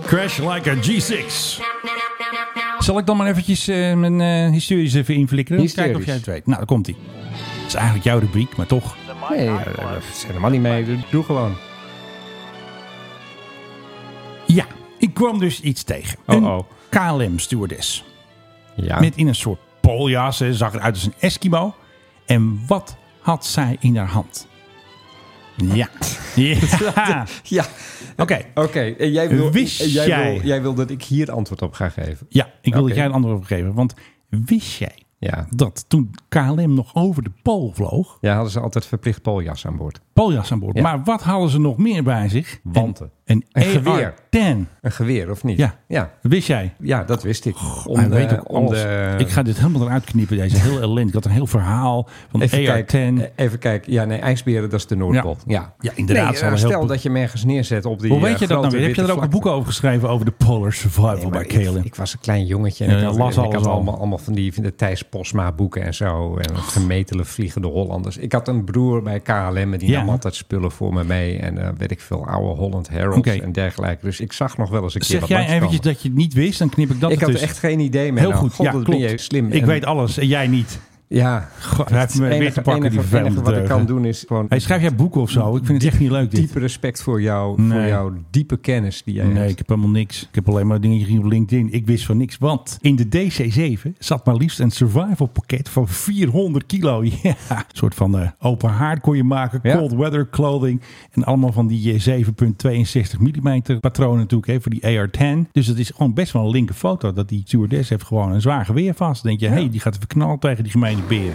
Speaker 6: Crash like a G6. Zal ik dan maar eventjes eh, mijn eh historisch even inflikkeren?
Speaker 7: Hysterisch.
Speaker 6: Kijken of jij het weet. Nou, daar komt hij. Het is eigenlijk jouw rubriek, maar toch.
Speaker 7: Nee, eh, dat is helemaal niet mee. Doe gewoon.
Speaker 6: Ja, ik kwam dus iets tegen.
Speaker 7: Oh,
Speaker 6: een
Speaker 7: oh.
Speaker 6: KLM-stewardess.
Speaker 7: Ja.
Speaker 6: Met in een soort poljas. Ze zag eruit als een Eskimo. En wat had zij in haar hand? Ja. ja.
Speaker 7: Ja,
Speaker 6: Oké.
Speaker 7: oké. En jij wil,
Speaker 6: Wist
Speaker 7: en jij,
Speaker 6: jij-
Speaker 7: Wil, jij wil dat ik hier antwoord op ga geven.
Speaker 6: Ja, ik wil dat
Speaker 7: Oké.
Speaker 6: jij een antwoord op geeft. Want wist jij
Speaker 7: Ja.
Speaker 6: dat toen KLM nog over de Pool vloog,
Speaker 7: Ja, hadden ze altijd verplicht poljas aan boord.
Speaker 6: poljas aan boord.
Speaker 7: Ja.
Speaker 6: Maar wat hadden ze nog meer bij zich?
Speaker 7: Wanten.
Speaker 6: Een,
Speaker 7: Een
Speaker 6: een
Speaker 7: geweer.
Speaker 6: AR-10.
Speaker 7: Een geweer, of niet?
Speaker 6: Ja.
Speaker 7: Ja,
Speaker 6: Wist jij?
Speaker 7: ja dat wist ik. Om
Speaker 6: Hij
Speaker 7: de-
Speaker 6: weet ook
Speaker 7: om
Speaker 6: alles.
Speaker 7: de-
Speaker 6: Ik ga dit helemaal eruit knippen. Deze heel ellendig. Ik had een heel verhaal van de
Speaker 7: Even
Speaker 6: AR-10.
Speaker 7: kijken. Even kijken. Ja, nee, ijsberen, dat is de Noordpool.
Speaker 6: Ja.
Speaker 7: Ja,
Speaker 6: Ja, inderdaad,
Speaker 7: Nee,
Speaker 6: ze hadden
Speaker 7: eh,
Speaker 6: heel
Speaker 7: stel
Speaker 6: goed-
Speaker 7: dat je hem ergens neerzet op die
Speaker 6: Hoe
Speaker 7: eh,
Speaker 6: weet je dat nou
Speaker 7: grote
Speaker 6: weer? Heb je
Speaker 7: witte
Speaker 6: er ook een
Speaker 7: vlakte.
Speaker 6: boek over geschreven over de Polar Survival
Speaker 7: Nee,
Speaker 6: bij
Speaker 7: maar
Speaker 6: KLM?
Speaker 7: ik, ik was een klein jongetje en
Speaker 6: Ja,
Speaker 7: ik
Speaker 6: je
Speaker 7: had,
Speaker 6: las
Speaker 7: en ik
Speaker 6: alles
Speaker 7: had
Speaker 6: al.
Speaker 7: allemaal, allemaal van die, van de Thijs Posma boeken en zo. En gemetele vliegende Hollanders. Ik had een broer bij KLM en die
Speaker 6: Ja.
Speaker 7: nam altijd spullen voor me mee. En eh, weet ik veel, oude Holland Heralds
Speaker 6: Oké.
Speaker 7: en dergelijke. Dus ik zag nog wel eens een keer
Speaker 6: Zeg
Speaker 7: wat
Speaker 6: jij
Speaker 7: langskomen.
Speaker 6: eventjes dat je het niet wist, dan knip ik dat
Speaker 7: Ik had er
Speaker 6: ertussen.
Speaker 7: echt geen idee meer.
Speaker 6: Heel goed,
Speaker 7: God,
Speaker 6: ja,
Speaker 7: wat
Speaker 6: klopt.
Speaker 7: ben je slim.
Speaker 6: Ik
Speaker 7: En-
Speaker 6: weet alles en jij niet.
Speaker 7: Ja,
Speaker 6: God, hij heeft me weer te pakken, die eh.
Speaker 7: enige, enige wat ik
Speaker 6: vervelende
Speaker 7: kan
Speaker 6: dreugen.
Speaker 7: doen is gewoon
Speaker 6: Hey, schrijf jij boeken of zo? Ik vind het echt niet leuk dit.
Speaker 7: diep respect voor, jou, voor
Speaker 6: Nee.
Speaker 7: jouw diepe kennis die jij
Speaker 6: Nee,
Speaker 7: hebt.
Speaker 6: ik heb helemaal niks. Ik heb alleen maar dingen gezien op LinkedIn. Ik wist van niks. Want in de DC-7 zat maar liefst een survival pakket van 400 kilo. Ja, een soort van eh, open haard kon je maken.
Speaker 7: Ja.
Speaker 6: Cold weather clothing. En allemaal van die eh, 7.62 mm patronen natuurlijk. Hè, voor die AR-10. Dus dat is gewoon best wel een linker foto. Dat die stewardess heeft gewoon een zwaar geweer vast. Dan denk je, hé, hey, die gaat verknald tegen die gemene beren.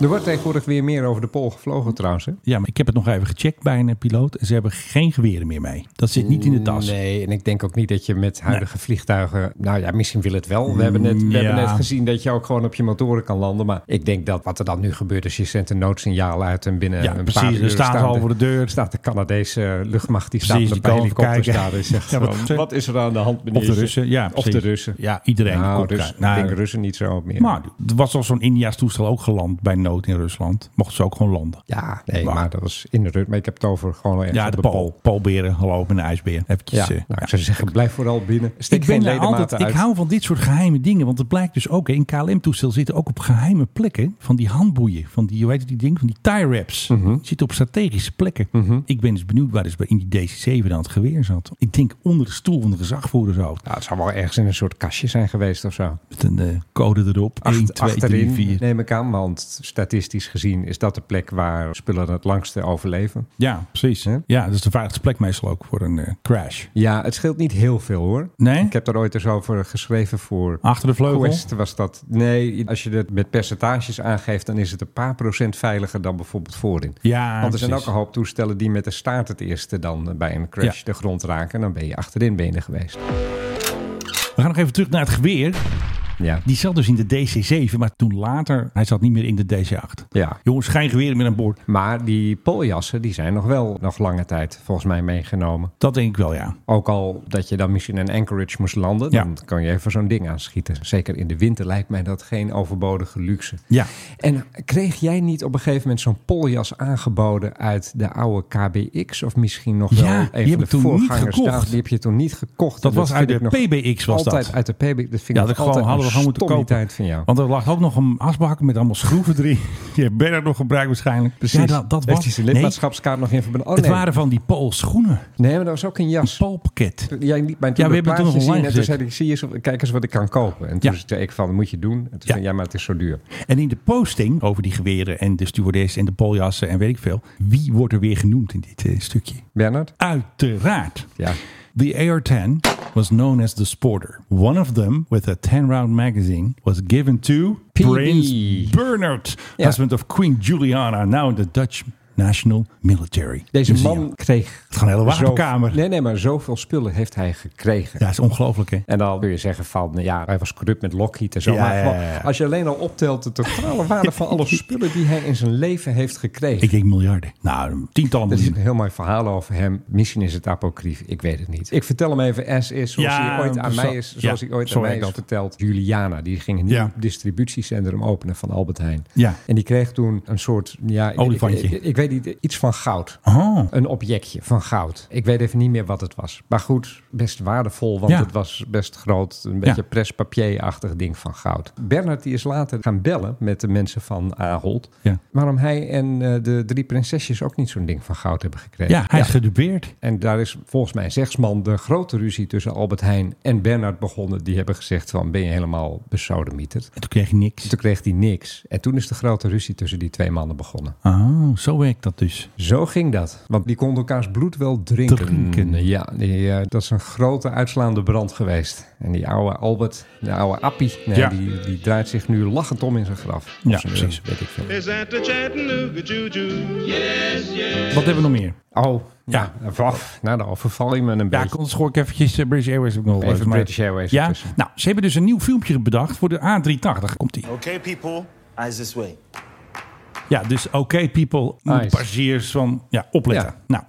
Speaker 7: Er wordt tegenwoordig weer meer over de pool gevlogen trouwens. Hè?
Speaker 6: Ja, maar ik heb het nog even gecheckt bij een eh, piloot. En ze hebben geen geweren meer mee. Dat zit niet in de tas.
Speaker 7: Nee, en ik denk ook niet dat je met huidige vliegtuigen... Nou ja, misschien wil het wel. We, hebben net, we
Speaker 6: ja.
Speaker 7: hebben net gezien dat je ook gewoon op je motoren kan landen. Maar ik denk dat wat er dan nu gebeurt is... je zendt een noodsignaal uit en binnen
Speaker 6: Ja,
Speaker 7: een
Speaker 6: precies.
Speaker 7: paar
Speaker 6: Dan
Speaker 7: uur...
Speaker 6: staan ze al voor de deur.
Speaker 7: Staat de Canadese luchtmacht, die staat
Speaker 6: Precies,
Speaker 7: met een
Speaker 6: die
Speaker 7: paar
Speaker 6: komen even
Speaker 7: helikopters
Speaker 6: kijken.
Speaker 7: daar. En zegt
Speaker 6: Ja,
Speaker 7: van,
Speaker 6: wat- eh,
Speaker 7: wat is er aan de hand,
Speaker 6: Of
Speaker 7: meneer?
Speaker 6: de Russen, ja.
Speaker 7: Of de
Speaker 6: precies.
Speaker 7: Russen.
Speaker 6: Ja, iedereen.
Speaker 7: Nou,
Speaker 6: komt
Speaker 7: dus,
Speaker 6: daar.
Speaker 7: ik
Speaker 6: Nou,
Speaker 7: denk Russen niet zo meer.
Speaker 6: Maar er was al zo'n India's toestel ook geland bij nood in Rusland. Mochten ze ook gewoon landen.
Speaker 7: Ja, nee, maar, dat was in de rut. Maar ik heb het over gewoon ergens
Speaker 6: Ja,
Speaker 7: op
Speaker 6: de Paul. Paul Beren, hallo, ik ben de ijsbeer. Eventjes,
Speaker 7: Ja,
Speaker 6: eh,
Speaker 7: nou,
Speaker 6: ja.
Speaker 7: ik zou zeggen, blijf vooral binnen. Steek
Speaker 6: Ik, ben
Speaker 7: geen
Speaker 6: daar
Speaker 7: ledematen
Speaker 6: altijd,
Speaker 7: uit.
Speaker 6: ik hou van dit soort geheime dingen. Want het blijkt dus ook, hè, in KLM-toestel zitten ook op geheime plekken van die handboeien. Van die, hoe heet het, die ding? Van die tie wraps.
Speaker 7: Mhm.
Speaker 6: Zitten op strategische plekken. Ik ben dus benieuwd waar dus bij- in die DC-7 dan het geweer zat. Ik denk onder de stoel van de gezagvoerder zo.
Speaker 7: Ja, het zou wel ergens in een soort kastje zijn geweest of zo.
Speaker 6: Met een eh, code erop. 1, 2, 3,
Speaker 7: achterin
Speaker 6: 4.
Speaker 7: neem ik aan, want statistisch gezien is dat de plek waar spullen het langste overleven.
Speaker 6: Ja, precies.
Speaker 7: Hè?
Speaker 6: Ja, dat is de veiligste plek meestal ook voor een eh, crash.
Speaker 7: Ja, het scheelt niet heel veel hoor.
Speaker 6: Nee?
Speaker 7: Ik heb daar ooit eens over geschreven voor
Speaker 6: Achter de vleugel.
Speaker 7: Quest was dat. Nee, als je het met percentages aangeeft, dan is het een paar procent veiliger dan bijvoorbeeld voorin.
Speaker 6: Ja,
Speaker 7: Want er zijn ook
Speaker 6: Ah, precies.
Speaker 7: een hoop toestellen die met de staart het eerste dan eh, bij een crash
Speaker 6: Ja.
Speaker 7: de grond raken. En dan ben je achterin ben je er geweest.
Speaker 6: We gaan nog even terug naar het geweer.
Speaker 7: Ja.
Speaker 6: Die zat dus in de DC-7, maar toen later, hij zat niet meer in de DC-8.
Speaker 7: ja.
Speaker 6: Jongens, geen geweren meer aan boord.
Speaker 7: Maar die poljassen die zijn nog wel nog lange tijd volgens mij meegenomen.
Speaker 6: Dat denk ik wel, ja.
Speaker 7: Ook al dat je dan misschien in Anchorage moest landen,
Speaker 6: Ja.
Speaker 7: dan kan je even zo'n ding aanschieten. Zeker in de winter lijkt mij dat geen overbodige luxe.
Speaker 6: Ja.
Speaker 7: En kreeg jij niet op een gegeven moment zo'n poljas aangeboden uit de oude KBX? Of misschien nog wel
Speaker 6: Ja, die heb
Speaker 7: een van de
Speaker 6: ik toen niet
Speaker 7: voorgangers?
Speaker 6: gekocht.
Speaker 7: daar? die heb je toen niet gekocht.
Speaker 6: Dat
Speaker 7: En
Speaker 6: was
Speaker 7: vind
Speaker 6: uit de
Speaker 7: ik nog
Speaker 6: PBX was
Speaker 7: altijd
Speaker 6: dat.
Speaker 7: uit de PBX. Dat vind
Speaker 6: Ja,
Speaker 7: ik
Speaker 6: dat
Speaker 7: altijd
Speaker 6: gewoon, hadden we gewoon moeten kopen. Oh,
Speaker 7: tijd van jou.
Speaker 6: Want er lag ook nog een asbak met allemaal schroeven erin. Die heeft Bernard nog gebruikt waarschijnlijk. Ja, dat, dat
Speaker 7: Heeft hij
Speaker 6: was...
Speaker 7: zijn
Speaker 6: Nee,
Speaker 7: lidmaatschapskaart nog in verband? Oh,
Speaker 6: het
Speaker 7: nee.
Speaker 6: waren van die Paul schoenen.
Speaker 7: nee, maar dat was ook een jas.
Speaker 6: Palpakket.
Speaker 7: Jij liet mij toen
Speaker 6: Ja, we
Speaker 7: een
Speaker 6: hebben het toen nog
Speaker 7: plaatje zien.
Speaker 6: online
Speaker 7: En toen
Speaker 6: gezet.
Speaker 7: zei ik, zie eens, of- kijk eens wat ik kan kopen. En toen
Speaker 6: Ja.
Speaker 7: zei ik van, dat moet je doen. En toen
Speaker 6: Ja.
Speaker 7: zei ja, maar het is zo duur.
Speaker 6: En in de posting over die geweren en de stewardess en de poljassen en weet ik veel. Wie wordt er weer genoemd in dit eh, stukje?
Speaker 7: Bernard?
Speaker 6: Uiteraard.
Speaker 7: Ja.
Speaker 6: The AR-10 was known as the Sporter. One of them, with a 10-round magazine, was given to
Speaker 7: PB.
Speaker 6: Prince Bernard,
Speaker 7: Ja.
Speaker 6: husband of Queen Juliana, now in the Dutch National Military.
Speaker 7: Deze
Speaker 6: Museum.
Speaker 7: man kreeg...
Speaker 6: Het gaat een hele wapenkamer.
Speaker 7: zoveel- Nee, nee, maar zoveel spullen heeft hij gekregen.
Speaker 6: Ja, dat is ongelooflijk, hè?
Speaker 7: En dan kun je zeggen van, ja, hij was corrupt met Lockheed en zo.
Speaker 6: Ja,
Speaker 7: maar
Speaker 6: ja,
Speaker 7: gewoon,
Speaker 6: ja, ja.
Speaker 7: als je alleen al optelt de totale waarde van alle spullen die hij in zijn leven heeft gekregen.
Speaker 6: Ik denk miljarden. Nou, tientallen
Speaker 7: er is een
Speaker 6: miljoenen.
Speaker 7: heel mooi verhaal over hem. Misschien is het apocrief, ik weet het niet. Ik vertel hem even as is, zoals
Speaker 6: Ja,
Speaker 7: hij ooit aan
Speaker 6: zo-
Speaker 7: mij is,
Speaker 6: ja,
Speaker 7: zoals hij ooit
Speaker 6: zo
Speaker 7: aan mij
Speaker 6: werkt
Speaker 7: is
Speaker 6: dat.
Speaker 7: verteld. Juliana, die ging een nieuw
Speaker 6: Ja.
Speaker 7: distributiecentrum openen van Albert Heijn.
Speaker 6: Ja.
Speaker 7: En die kreeg toen een soort, ja, ik-
Speaker 6: Olifantje.
Speaker 7: Ik, ik, ik weet niet, iets van goud.
Speaker 6: Oh.
Speaker 7: Een objectje van goud. Ik weet even niet meer wat het was. Maar goed, best waardevol, want
Speaker 6: Ja.
Speaker 7: het was best groot. Een beetje prespapierachtig ding van goud. Bernard die is later gaan bellen met de mensen van Ahold.
Speaker 6: Ja.
Speaker 7: Waarom hij en eh, de drie prinsesjes ook niet zo'n ding van goud hebben gekregen.
Speaker 6: Ja, hij is gedupeerd.
Speaker 7: En daar is volgens mij zegsman de grote ruzie tussen Albert Heijn en Bernard begonnen. Die hebben gezegd van ben je helemaal besodemieterd.
Speaker 6: En toen kreeg hij niks.
Speaker 7: Toen kreeg hij niks. En toen is de grote ruzie tussen die twee mannen begonnen.
Speaker 6: Oh, zo werkt dat dus.
Speaker 7: Zo ging dat. Want die kon elkaars bloed wel drinken.
Speaker 6: Drinken.
Speaker 7: Ja, die, eh, dat is een grote uitslaande brand geweest. En die oude Albert, de oude Appie, nee,
Speaker 6: Ja.
Speaker 7: die, die draait zich nu lachend om in zijn graf.
Speaker 6: Ja,
Speaker 7: Of zijn, eh,
Speaker 6: precies.
Speaker 7: Weet ik veel.
Speaker 1: Is that the Chattanooga Juju?
Speaker 6: Wat hebben we nog meer?
Speaker 7: Oh,
Speaker 6: Ja.
Speaker 7: ja. Waf, nou, dan overval je me een
Speaker 6: Ja,
Speaker 7: beetje.
Speaker 6: ik kon schoor ik eventjes eh, British Airways heb ik nog wel
Speaker 7: Even
Speaker 6: maar-
Speaker 7: British Airways
Speaker 6: Ja,
Speaker 7: ertussen.
Speaker 6: nou, ze hebben dus een nieuw filmpje bedacht voor de A380. Komt-ie.
Speaker 11: Okay, people, eyes this way.
Speaker 6: Ja, dus oké, people, moeten
Speaker 7: Nice.
Speaker 6: passagiers van ja, opletten.
Speaker 7: Ja.
Speaker 6: Nou,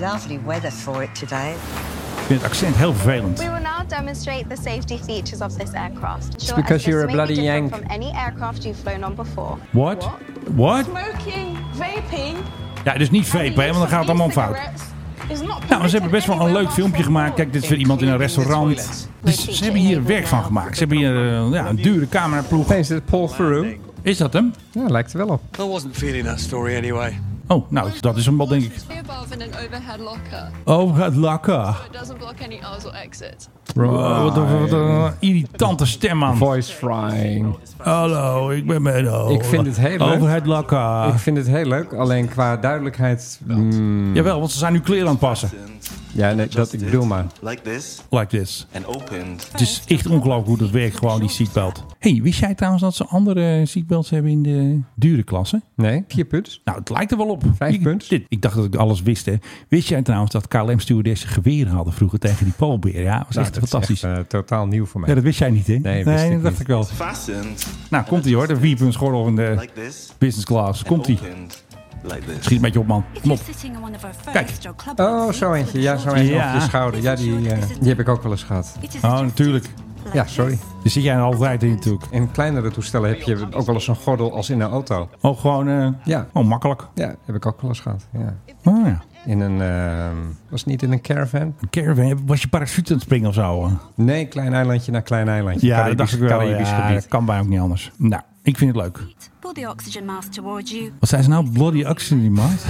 Speaker 11: Lovely weather for it today.
Speaker 6: ik vind het accent heel vervelend.
Speaker 12: We will now demonstrate the safety features of this aircraft. Sure,
Speaker 7: because
Speaker 12: as
Speaker 7: you're
Speaker 12: this
Speaker 7: a
Speaker 12: may be
Speaker 7: bloody
Speaker 12: different
Speaker 7: Yank.
Speaker 12: From any aircraft you've flown on before.
Speaker 6: What? What?
Speaker 12: Smoking, vaping.
Speaker 6: Ja, dus niet vape, hè, want dan gaat het allemaal fout. Nou, ze hebben best wel een leuk filmpje gemaakt. Kijk, dit is weer iemand in een restaurant. Dus ze hebben hier werk van gemaakt. Ze hebben hier eh, ja, een dure cameraploeg.
Speaker 7: Hey, is dit Paul Theroux?
Speaker 6: Is dat hem?
Speaker 7: Ja, lijkt er wel op.
Speaker 11: I wasn't feeling that story anyway.
Speaker 6: Oh, nou, dat is hem wel, denk ik.
Speaker 12: above in an overhead locker,
Speaker 6: Oh, het lakker.
Speaker 12: it doesn't block any aisles or exits.
Speaker 6: Oh, wat een- wat een irritante stem, man.
Speaker 7: Voice frying.
Speaker 6: Hallo, ik ben Menno.
Speaker 7: Ik vind het heel leuk.
Speaker 6: Over het lakker.
Speaker 7: Ik vind het heel leuk, alleen qua duidelijkheid... mm,
Speaker 6: Jawel, want ze zijn nu kleren aan het passen.
Speaker 7: ja, nee, dat ik bedoel maar.
Speaker 11: Like this
Speaker 6: Like this.
Speaker 11: and opened.
Speaker 6: Het is echt ongelooflijk hoe dat werkt, gewoon die seatbelt. hey, wist jij trouwens dat ze andere seatbelts hebben in de dure klasse?
Speaker 7: Nee, vier punts.
Speaker 6: Nou, het lijkt er wel op.
Speaker 7: Vijf
Speaker 6: ik,
Speaker 7: punt.
Speaker 6: Dit, ik dacht dat ik alles wist, hè. Wist jij trouwens dat KLM-stewardessen geweren hadden vroeger tegen die Poolbeer? Ja, dat was echt
Speaker 7: Nou, dat is
Speaker 6: fantastisch.
Speaker 7: echt, eh, totaal nieuw voor mij.
Speaker 6: ja, dat wist jij niet, hè?
Speaker 7: Nee, wist ik
Speaker 6: dat dacht
Speaker 7: niet.
Speaker 6: ik wel.
Speaker 11: Fastened
Speaker 6: Nou, komt ie hoor. De vierpunt schorrel in de
Speaker 11: like this
Speaker 6: business class.
Speaker 11: and
Speaker 6: Komt ie.
Speaker 11: opened like this.
Speaker 6: Schiet met je op, man. Kom op. Kijk.
Speaker 7: Oh, zo eentje. Ja, zo eentje
Speaker 6: Ja.
Speaker 7: op je schouder. Ja, die, eh, die heb ik ook wel eens gehad.
Speaker 6: Oh, natuurlijk.
Speaker 7: Ja, sorry.
Speaker 6: Dus zit jij altijd in natuurlijk.
Speaker 7: In kleinere toestellen heb je ook wel eens een gordel als in een auto.
Speaker 6: Oh, gewoon... eh,
Speaker 7: Ja.
Speaker 6: Oh, makkelijk.
Speaker 7: Ja, heb ik ook wel eens gehad. Ja.
Speaker 6: Oh ja.
Speaker 7: In een, ehm, was het niet in een caravan?
Speaker 6: Een caravan. Was je parachute aan het springen of zo? hè?
Speaker 7: Nee, klein eilandje naar klein eilandje.
Speaker 6: Ja, dat
Speaker 7: Caribisch-
Speaker 6: dacht ik wel.
Speaker 7: Caribisch
Speaker 6: Ja,
Speaker 7: gebied.
Speaker 6: dat kan bij ook niet anders. Nou, ik vind het leuk.
Speaker 13: Pull the oxygen mask towards you.
Speaker 6: Wat zijn ze nou? Bloody actie, die maat.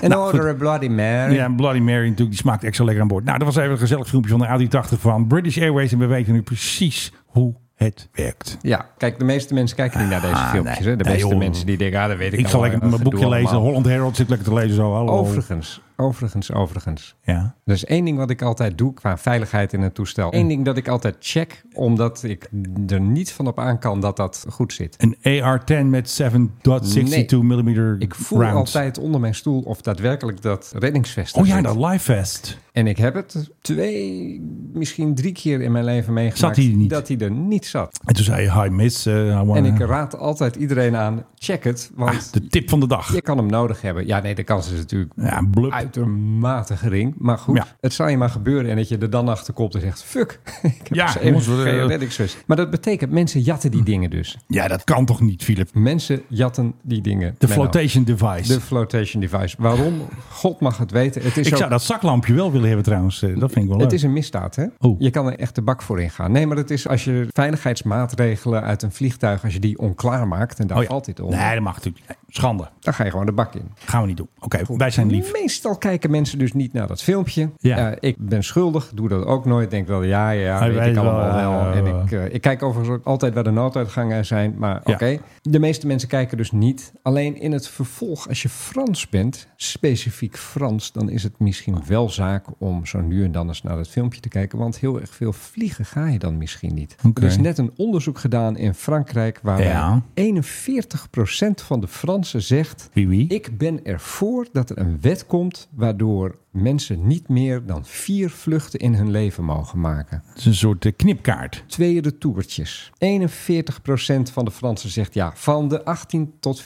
Speaker 7: En
Speaker 6: Nou,
Speaker 7: order
Speaker 6: goed.
Speaker 7: a Bloody Mary.
Speaker 6: Ja, en Bloody Mary natuurlijk, die smaakt extra lekker aan boord. Nou, dat was even een gezellig filmpje van de A380 van British Airways. En we weten nu precies hoe het werkt.
Speaker 7: Ja, kijk, de meeste mensen kijken niet naar deze
Speaker 6: Ah,
Speaker 7: filmpjes.
Speaker 6: nee.
Speaker 7: hè. De
Speaker 6: Nee,
Speaker 7: meeste
Speaker 6: joh.
Speaker 7: mensen die denken, ah, dat weet ik
Speaker 6: Ik, ga
Speaker 7: al,
Speaker 6: lekker
Speaker 7: dat
Speaker 6: mijn
Speaker 7: gedoe
Speaker 6: boekje lezen.
Speaker 7: allemaal.
Speaker 6: Holland Herald zit ik lekker te lezen zo. Hallo.
Speaker 7: Overigens, overigens, overigens.
Speaker 6: Ja.
Speaker 7: Er is één ding wat ik altijd doe qua veiligheid in het toestel.
Speaker 6: Mm.
Speaker 7: Eén ding dat ik altijd check, omdat ik er niet van op aan kan dat dat goed zit.
Speaker 6: Een AR-10 met 7.62 mm
Speaker 7: Ik voel
Speaker 6: rounds.
Speaker 7: altijd onder mijn stoel of daadwerkelijk dat reddingsvest er
Speaker 6: Oh ja,
Speaker 7: zit.
Speaker 6: dat live vest.
Speaker 7: En ik heb het twee, misschien drie keer in mijn leven meegemaakt
Speaker 6: Zat hij er niet?
Speaker 7: dat hij er niet zat.
Speaker 6: En toen zei je, hi miss. eh, I wanna- Ah,
Speaker 7: En ik raad altijd iedereen aan, check het, want
Speaker 6: De tip van de dag.
Speaker 7: je kan hem nodig hebben. Ja, nee, de kans is natuurlijk
Speaker 6: Ja, blub.
Speaker 7: uitermate gering. Maar goed,
Speaker 6: Ja.
Speaker 7: het zal je maar gebeuren en dat je er dan achter komt en zegt, fuck, ik heb
Speaker 6: Ja,
Speaker 7: dus even
Speaker 6: jongens, we-
Speaker 7: geen reddingsvest. Maar dat betekent, mensen jatten
Speaker 6: Hm.
Speaker 7: die dingen dus.
Speaker 6: Ja, dat kan toch niet, Philip?
Speaker 7: Mensen jatten die dingen.
Speaker 6: De
Speaker 7: Menno.
Speaker 6: flotation device.
Speaker 7: De flotation device. Waarom? God mag het weten. Het is
Speaker 6: ik
Speaker 7: ook-
Speaker 6: zou dat zaklampje wel willen hebben trouwens. Eh, Dat vind ik wel leuk.
Speaker 7: Het is een misdaad, hè?
Speaker 6: Oh.
Speaker 7: Je kan er echt de bak voor ingaan. Nee, maar het is als je veiligheidsmaatregelen uit een vliegtuig, als je die onklaar maakt, en daar
Speaker 6: Oh ja.
Speaker 7: valt dit onder,
Speaker 6: Nee, dat mag natuurlijk. niet. Schande.
Speaker 7: dan ga je gewoon de bak in.
Speaker 6: Gaan we niet doen. Oké, wij zijn lief.
Speaker 7: Meestal kijken mensen dus niet naar dat filmpje.
Speaker 6: Ja.
Speaker 7: Eh, ik ben schuldig, doe dat ook nooit. Denk wel, ja, ja,
Speaker 6: Hij
Speaker 7: weet,
Speaker 6: weet
Speaker 7: ik
Speaker 6: wel,
Speaker 7: allemaal wel.
Speaker 6: ja,
Speaker 7: en
Speaker 6: ja.
Speaker 7: ik, eh, ik kijk overigens ook altijd waar de nooduitgangen zijn. Maar oké,
Speaker 6: Ja.
Speaker 7: de meeste mensen kijken dus niet. Alleen in het vervolg, als je Frans bent, specifiek Frans... dan is het misschien wel zaak om zo nu en dan eens naar dat filmpje te kijken. Want heel erg veel vliegen ga je dan misschien niet.
Speaker 6: Oké.
Speaker 7: Er is net een onderzoek gedaan in Frankrijk... waarbij
Speaker 6: Ja.
Speaker 7: 41% van de Fransen zegt...
Speaker 6: Wie wie?
Speaker 7: Ik ben ervoor dat er een wet komt waardoor mensen niet meer dan vier vluchten in hun leven mogen maken.
Speaker 6: Het is een soort eh, knipkaart.
Speaker 7: Tweede toertjes. 41% van de Fransen zegt ja. Van de 18 tot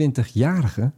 Speaker 7: 24-jarigen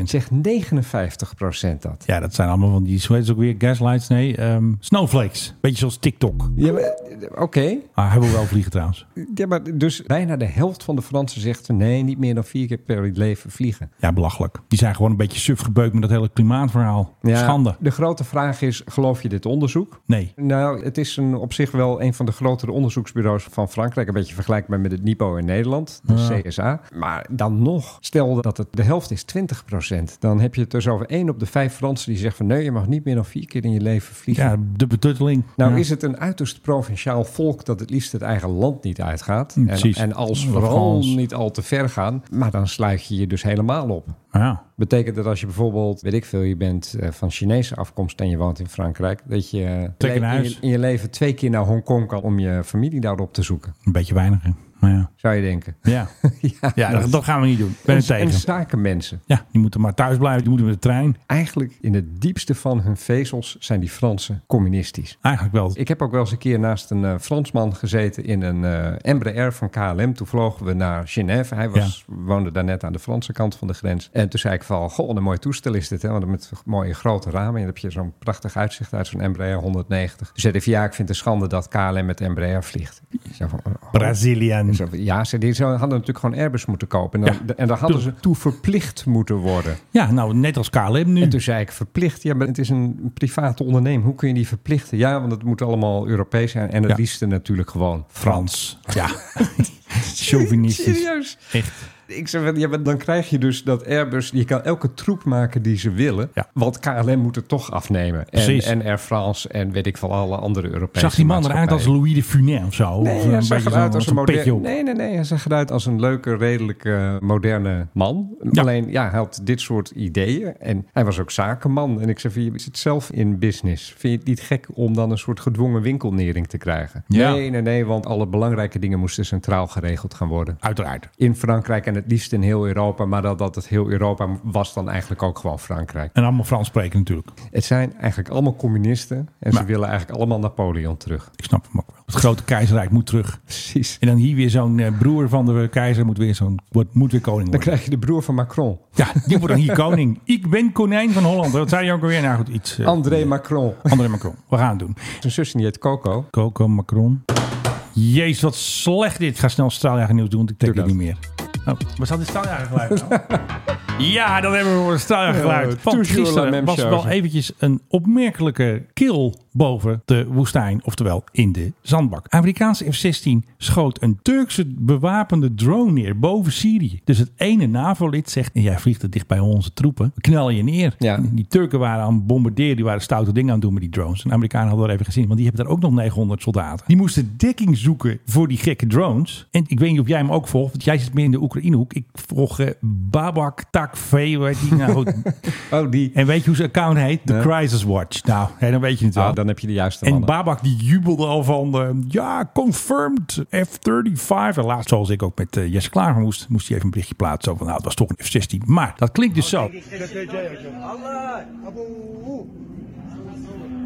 Speaker 6: 100%.
Speaker 7: zegt 59% dat.
Speaker 6: Ja, dat zijn allemaal van die, hoe heet het ook weer? Gaslights? Nee, ehm, snowflakes. Beetje zoals TikTok.
Speaker 7: Ja, maar, eh, oké.
Speaker 6: Ah, hebben we wel vliegen trouwens.
Speaker 7: Ja, maar dus bijna de helft van de Fransen zegt nee, niet meer dan vier keer per leven vliegen.
Speaker 6: Ja, belachelijk. Die zijn gewoon een beetje suf gebeukt met dat hele klimaatverhaal.
Speaker 7: Ja,
Speaker 6: Schande.
Speaker 7: De grote vraag is, geloof je dit onderzoek?
Speaker 6: Nee.
Speaker 7: Nou, het is een, op zich wel een van de grotere onderzoeksbureaus van Frankrijk. Een beetje vergelijkbaar met het NIPO in Nederland, de CSA. Maar dan nog, stel dat het de helft is 20%. Dan heb je het dus over 1 op de 5 Fransen die zegt van... nee, je mag niet meer dan vier keer in je leven vliegen.
Speaker 6: Ja, de betutteling.
Speaker 7: Nou
Speaker 6: Ja.
Speaker 7: is het een uiterst provinciaal volk dat het liefst het eigen land niet uitgaat.
Speaker 6: Mm,
Speaker 7: En,
Speaker 6: precies.
Speaker 7: en als
Speaker 6: Of
Speaker 7: vooral
Speaker 6: Frans.
Speaker 7: niet al te ver gaan. Maar dan sluit je je dus helemaal op.
Speaker 6: Ah, Ja.
Speaker 7: Betekent dat als je bijvoorbeeld, weet ik veel, je bent eh, van Chinese afkomst en je woont in Frankrijk, dat je, eh,
Speaker 6: Trek in
Speaker 7: le- in,
Speaker 6: huis.
Speaker 7: je in je leven twee keer naar Hongkong kan om je familie daarop te zoeken,
Speaker 6: Een beetje weinig, hè? Maar ja.
Speaker 7: zou je denken.
Speaker 6: Ja,
Speaker 7: ja,
Speaker 6: ja dat, dat gaan we niet doen. Ik ben
Speaker 7: en,
Speaker 6: er tegen.
Speaker 7: en zakenmensen.
Speaker 6: Ja, die moeten maar thuis blijven. Die moeten met de trein.
Speaker 7: Eigenlijk in het diepste van hun vezels zijn die Fransen communistisch.
Speaker 6: Eigenlijk wel.
Speaker 7: Ik heb ook wel eens een keer naast een eh, Fransman gezeten in een eh Embraer van KLM. Toen vlogen we naar Genève. Hij was, woonde daar net aan de Franse kant van de grens. En toen zei ik van, goh, wat een mooi toestel is dit. Hè? Want met mooie grote ramen. En dan heb je zo'n prachtig uitzicht uit zo'n Embraer 190. Toen zei hij van, ja, ik vind het een schande dat KLM met Embraer vliegt. Ik zei van, oh,
Speaker 6: Brazilian.
Speaker 7: zo van, Ja, ze die zouden- hadden natuurlijk gewoon Airbus moeten kopen. En dan, en dan hadden ze toe verplicht moeten worden.
Speaker 6: Ja, nou, net als KLM nu.
Speaker 7: En dus- toen zei ik verplicht. Ja, maar het is een private onderneming. Hoe kun je die verplichten? Ja, want het moet allemaal Europees zijn. En het
Speaker 6: Ja.
Speaker 7: liefste natuurlijk gewoon.
Speaker 6: Frans. Ja. Chauvinistisch.
Speaker 7: Serieus?
Speaker 6: Echt.
Speaker 7: Ik zeg, van, ja, maar dan krijg je dus dat Airbus... Je kan elke troep maken die ze willen.
Speaker 6: Ja.
Speaker 7: Want KLM moet het toch afnemen. En,
Speaker 6: Precies.
Speaker 7: en Air France en weet ik van alle andere Europese
Speaker 6: Zag die man eruit als
Speaker 7: maatschappijen.
Speaker 6: Louis de Funès of zo?
Speaker 7: Nee,
Speaker 6: Of eh,
Speaker 7: hij zag
Speaker 6: beetje
Speaker 7: eruit
Speaker 6: zo'n-
Speaker 7: als een
Speaker 6: zo'n petje
Speaker 7: moderne.
Speaker 6: op.
Speaker 7: Nee, nee, nee. Hij zag eruit als een leuke, redelijke, moderne man.
Speaker 6: Ja.
Speaker 7: Alleen, ja, hij had dit soort ideeën. En hij was ook zakenman. En ik zei: van, Je zit zelf in business. Vind je het niet gek om dan een soort gedwongen winkelnering te krijgen?
Speaker 6: Ja.
Speaker 7: Nee, nee, nee. Want alle belangrijke dingen moesten centraal geregeld gaan worden.
Speaker 6: Uiteraard.
Speaker 7: In Frankrijk. En het liefst in heel Europa. Maar dat, dat het heel Europa was dan eigenlijk ook gewoon Frankrijk.
Speaker 6: En allemaal Frans spreken natuurlijk.
Speaker 7: Het zijn eigenlijk allemaal communisten. En ze willen eigenlijk allemaal Napoleon terug.
Speaker 6: Ik snap hem ook wel. Het grote keizerrijk moet terug.
Speaker 7: Precies.
Speaker 6: En dan hier weer zo'n eh, broer van de keizer moet weer, zo'n, wordt, moet weer koning worden.
Speaker 7: Dan krijg je de broer van Macron.
Speaker 6: Ja, die wordt dan hier koning. Ik ben konijn van Holland. Wat zei je ook alweer? Nou goed, iets. eh,
Speaker 7: André Macron.
Speaker 6: André Macron. We gaan het doen.
Speaker 7: Zijn zusje die heet Coco.
Speaker 6: Coco Macron. Jezus, wat slecht dit. Ik ga snel straaljager nieuws doen, want ik trek
Speaker 7: Doe
Speaker 6: het niet meer. Oh, maar zat dit straaljager geluid nou? ja, dan hebben we voor het straaljager geluid.
Speaker 7: Eh,
Speaker 6: Van
Speaker 7: toujours la
Speaker 6: gisteren
Speaker 7: même
Speaker 6: was
Speaker 7: chose.
Speaker 6: wel eventjes een opmerkelijke kill boven de woestijn, oftewel in de zandbak. Amerikaanse F-16 schoot een Turkse bewapende drone neer boven Syrië. Dus het ene NAVO-lid zegt, jij vliegt er dicht bij onze troepen, we knallen je neer.
Speaker 7: Ja.
Speaker 6: En Die Turken waren aan het bombarderen, die waren stoute dingen aan het doen met die drones. En de Amerikanen hadden dat even gezien, want die hebben daar ook nog 900 soldaten. Die moesten dekking zoeken voor die gekke drones. En ik weet niet of jij hem ook volgt, want jij zit meer in de Oekraïnehoek. Ik volg eh, Babak Takvee, hoe heet die nou?
Speaker 7: Oh, die.
Speaker 6: en weet je hoe zijn account heet? The
Speaker 7: Nee.
Speaker 6: Crisis Watch. Nou, hè, dan weet je het wel.
Speaker 7: Ah, dan heb je de juiste
Speaker 6: En
Speaker 7: mannen.
Speaker 6: Babak die jubelde al van, eh, ja, confirmed F-35. En laatst, zoals ik ook met eh, Jesse Klaver moest, moest hij even een berichtje plaatsen over, nou, het was toch een F-16. Maar dat klinkt dus zo.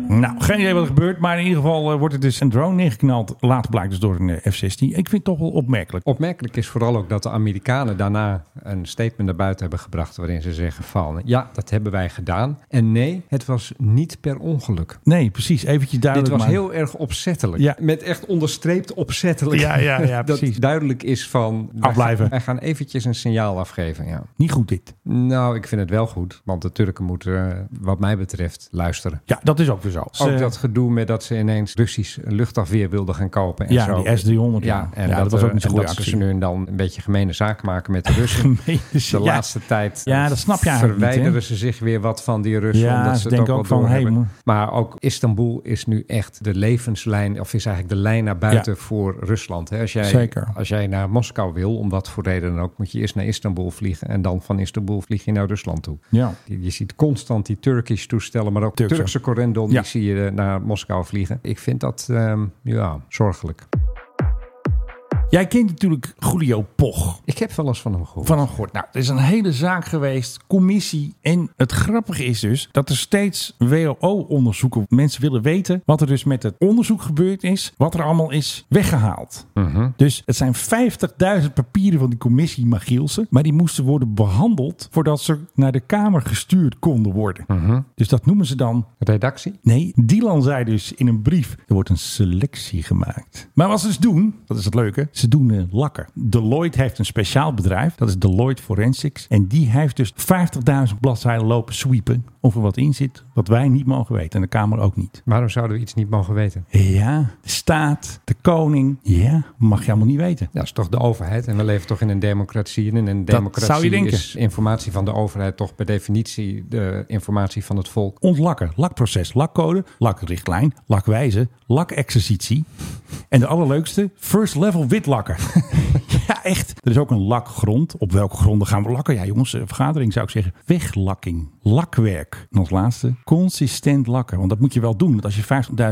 Speaker 6: Nou, geen idee wat er gebeurt, maar in ieder geval eh, wordt het dus een drone neergeknald. Later blijkt dus door een eh, F-16. Ik vind het toch wel opmerkelijk.
Speaker 7: Opmerkelijk is vooral ook dat de Amerikanen daarna een statement naar buiten hebben gebracht waarin ze zeggen van ja, dat hebben wij gedaan. En nee, het was niet per ongeluk.
Speaker 6: Nee, precies. Eventjes
Speaker 7: Dit
Speaker 6: duidelijk.
Speaker 7: was
Speaker 6: maar-
Speaker 7: heel erg opzettelijk.
Speaker 6: Ja.
Speaker 7: Met echt onderstreept opzettelijk.
Speaker 6: Ja, ja, ja,
Speaker 7: dat
Speaker 6: precies.
Speaker 7: duidelijk is van... wij
Speaker 6: Afblijven.
Speaker 7: gaan- Wij gaan eventjes een signaal afgeven, ja.
Speaker 6: Niet goed dit.
Speaker 7: Nou, ik vind het wel goed. Want de Turken moeten, eh, wat mij betreft, luisteren.
Speaker 6: Ja, dat is ook weer zo. Dus, eh,
Speaker 7: Ook
Speaker 6: Ze-
Speaker 7: dat gedoe met dat ze ineens Russisch luchtafweer wilden gaan kopen. En
Speaker 6: Ja,
Speaker 7: zo.
Speaker 6: die S-300, ja.
Speaker 7: Ja, en
Speaker 6: Ja,
Speaker 7: dat, was ook niet
Speaker 6: zo'n goede
Speaker 7: Dat
Speaker 6: actie.
Speaker 7: ze nu en dan een beetje gemene zaak maken met de Russen.
Speaker 6: Gemeente-
Speaker 7: De
Speaker 6: ja.
Speaker 7: laatste tijd eh,
Speaker 6: Ja, dat snap je eigenlijk niet, hè?
Speaker 7: verwijderen ze zich weer wat van die Russen.
Speaker 6: Ja,
Speaker 7: omdat
Speaker 6: ze
Speaker 7: ze
Speaker 6: denken
Speaker 7: het
Speaker 6: ook
Speaker 7: ook,
Speaker 6: van,
Speaker 7: wel
Speaker 6: hey,
Speaker 7: doorhebben.
Speaker 6: man.
Speaker 7: Maar ook Istanbul is nu echt de levenslijn, of is eigenlijk de lijn naar buiten
Speaker 6: Ja.
Speaker 7: voor Rusland. hè. Als jij,
Speaker 6: Zeker.
Speaker 7: als jij naar Moskou wil, om wat voor reden dan ook, moet je eerst naar Istanbul vliegen. En dan van Istanbul vlieg je naar Rusland toe.
Speaker 6: Ja.
Speaker 7: Je, je ziet constant die Turkish toestellen, maar ook
Speaker 6: Turkse.
Speaker 7: Turkse, correndon,
Speaker 6: Ja.
Speaker 7: die zie je eh, naar Moskou vliegen. Ik vind dat ehm, ja, zorgelijk.
Speaker 6: Jij kent natuurlijk Julio Poch.
Speaker 7: Ik heb wel eens van hem gehoord.
Speaker 6: Van een gort. Nou, er is een hele zaak geweest, commissie. En het grappige is dus dat er steeds WLO-onderzoeken. Mensen willen weten wat er dus met het onderzoek gebeurd is. Wat er allemaal is weggehaald. Dus het zijn 50.000 papieren van die commissie Magielsen. Maar die moesten worden behandeld voordat ze naar de Kamer gestuurd konden worden. Dus dat noemen ze dan
Speaker 7: Redactie?
Speaker 6: Nee, Dylan zei dus in een brief: er wordt een selectie gemaakt. Maar wat ze dus doen, dat is het leuke, ze doen eh, lakken. Deloitte heeft een speciaal bedrijf, dat is Deloitte Forensics. En die heeft dus 50.000 bladzijden lopen sweepen of er wat in zit wat wij niet mogen weten en de Kamer ook niet.
Speaker 7: Waarom zouden we iets niet mogen weten?
Speaker 6: Ja, de staat, de koning, ja, mag je allemaal niet weten.
Speaker 7: Ja, dat is toch de overheid. En we leven toch in een democratie. En in een democratie
Speaker 6: zou je denken.
Speaker 7: is informatie van de overheid toch per definitie de informatie van het volk.
Speaker 6: Ontlakken, lakproces, lakcode, lakrichtlijn, lakwijze, lakexercitie. En de allerleukste, first level witlakken. ja, echt. Er is ook een lakgrond. Op welke gronden gaan we lakken? Ja, jongens, eh, vergadering zou ik zeggen. Weglakking, lakwerk. En als laatste, consistent lakken. Want dat moet je wel doen. Want als je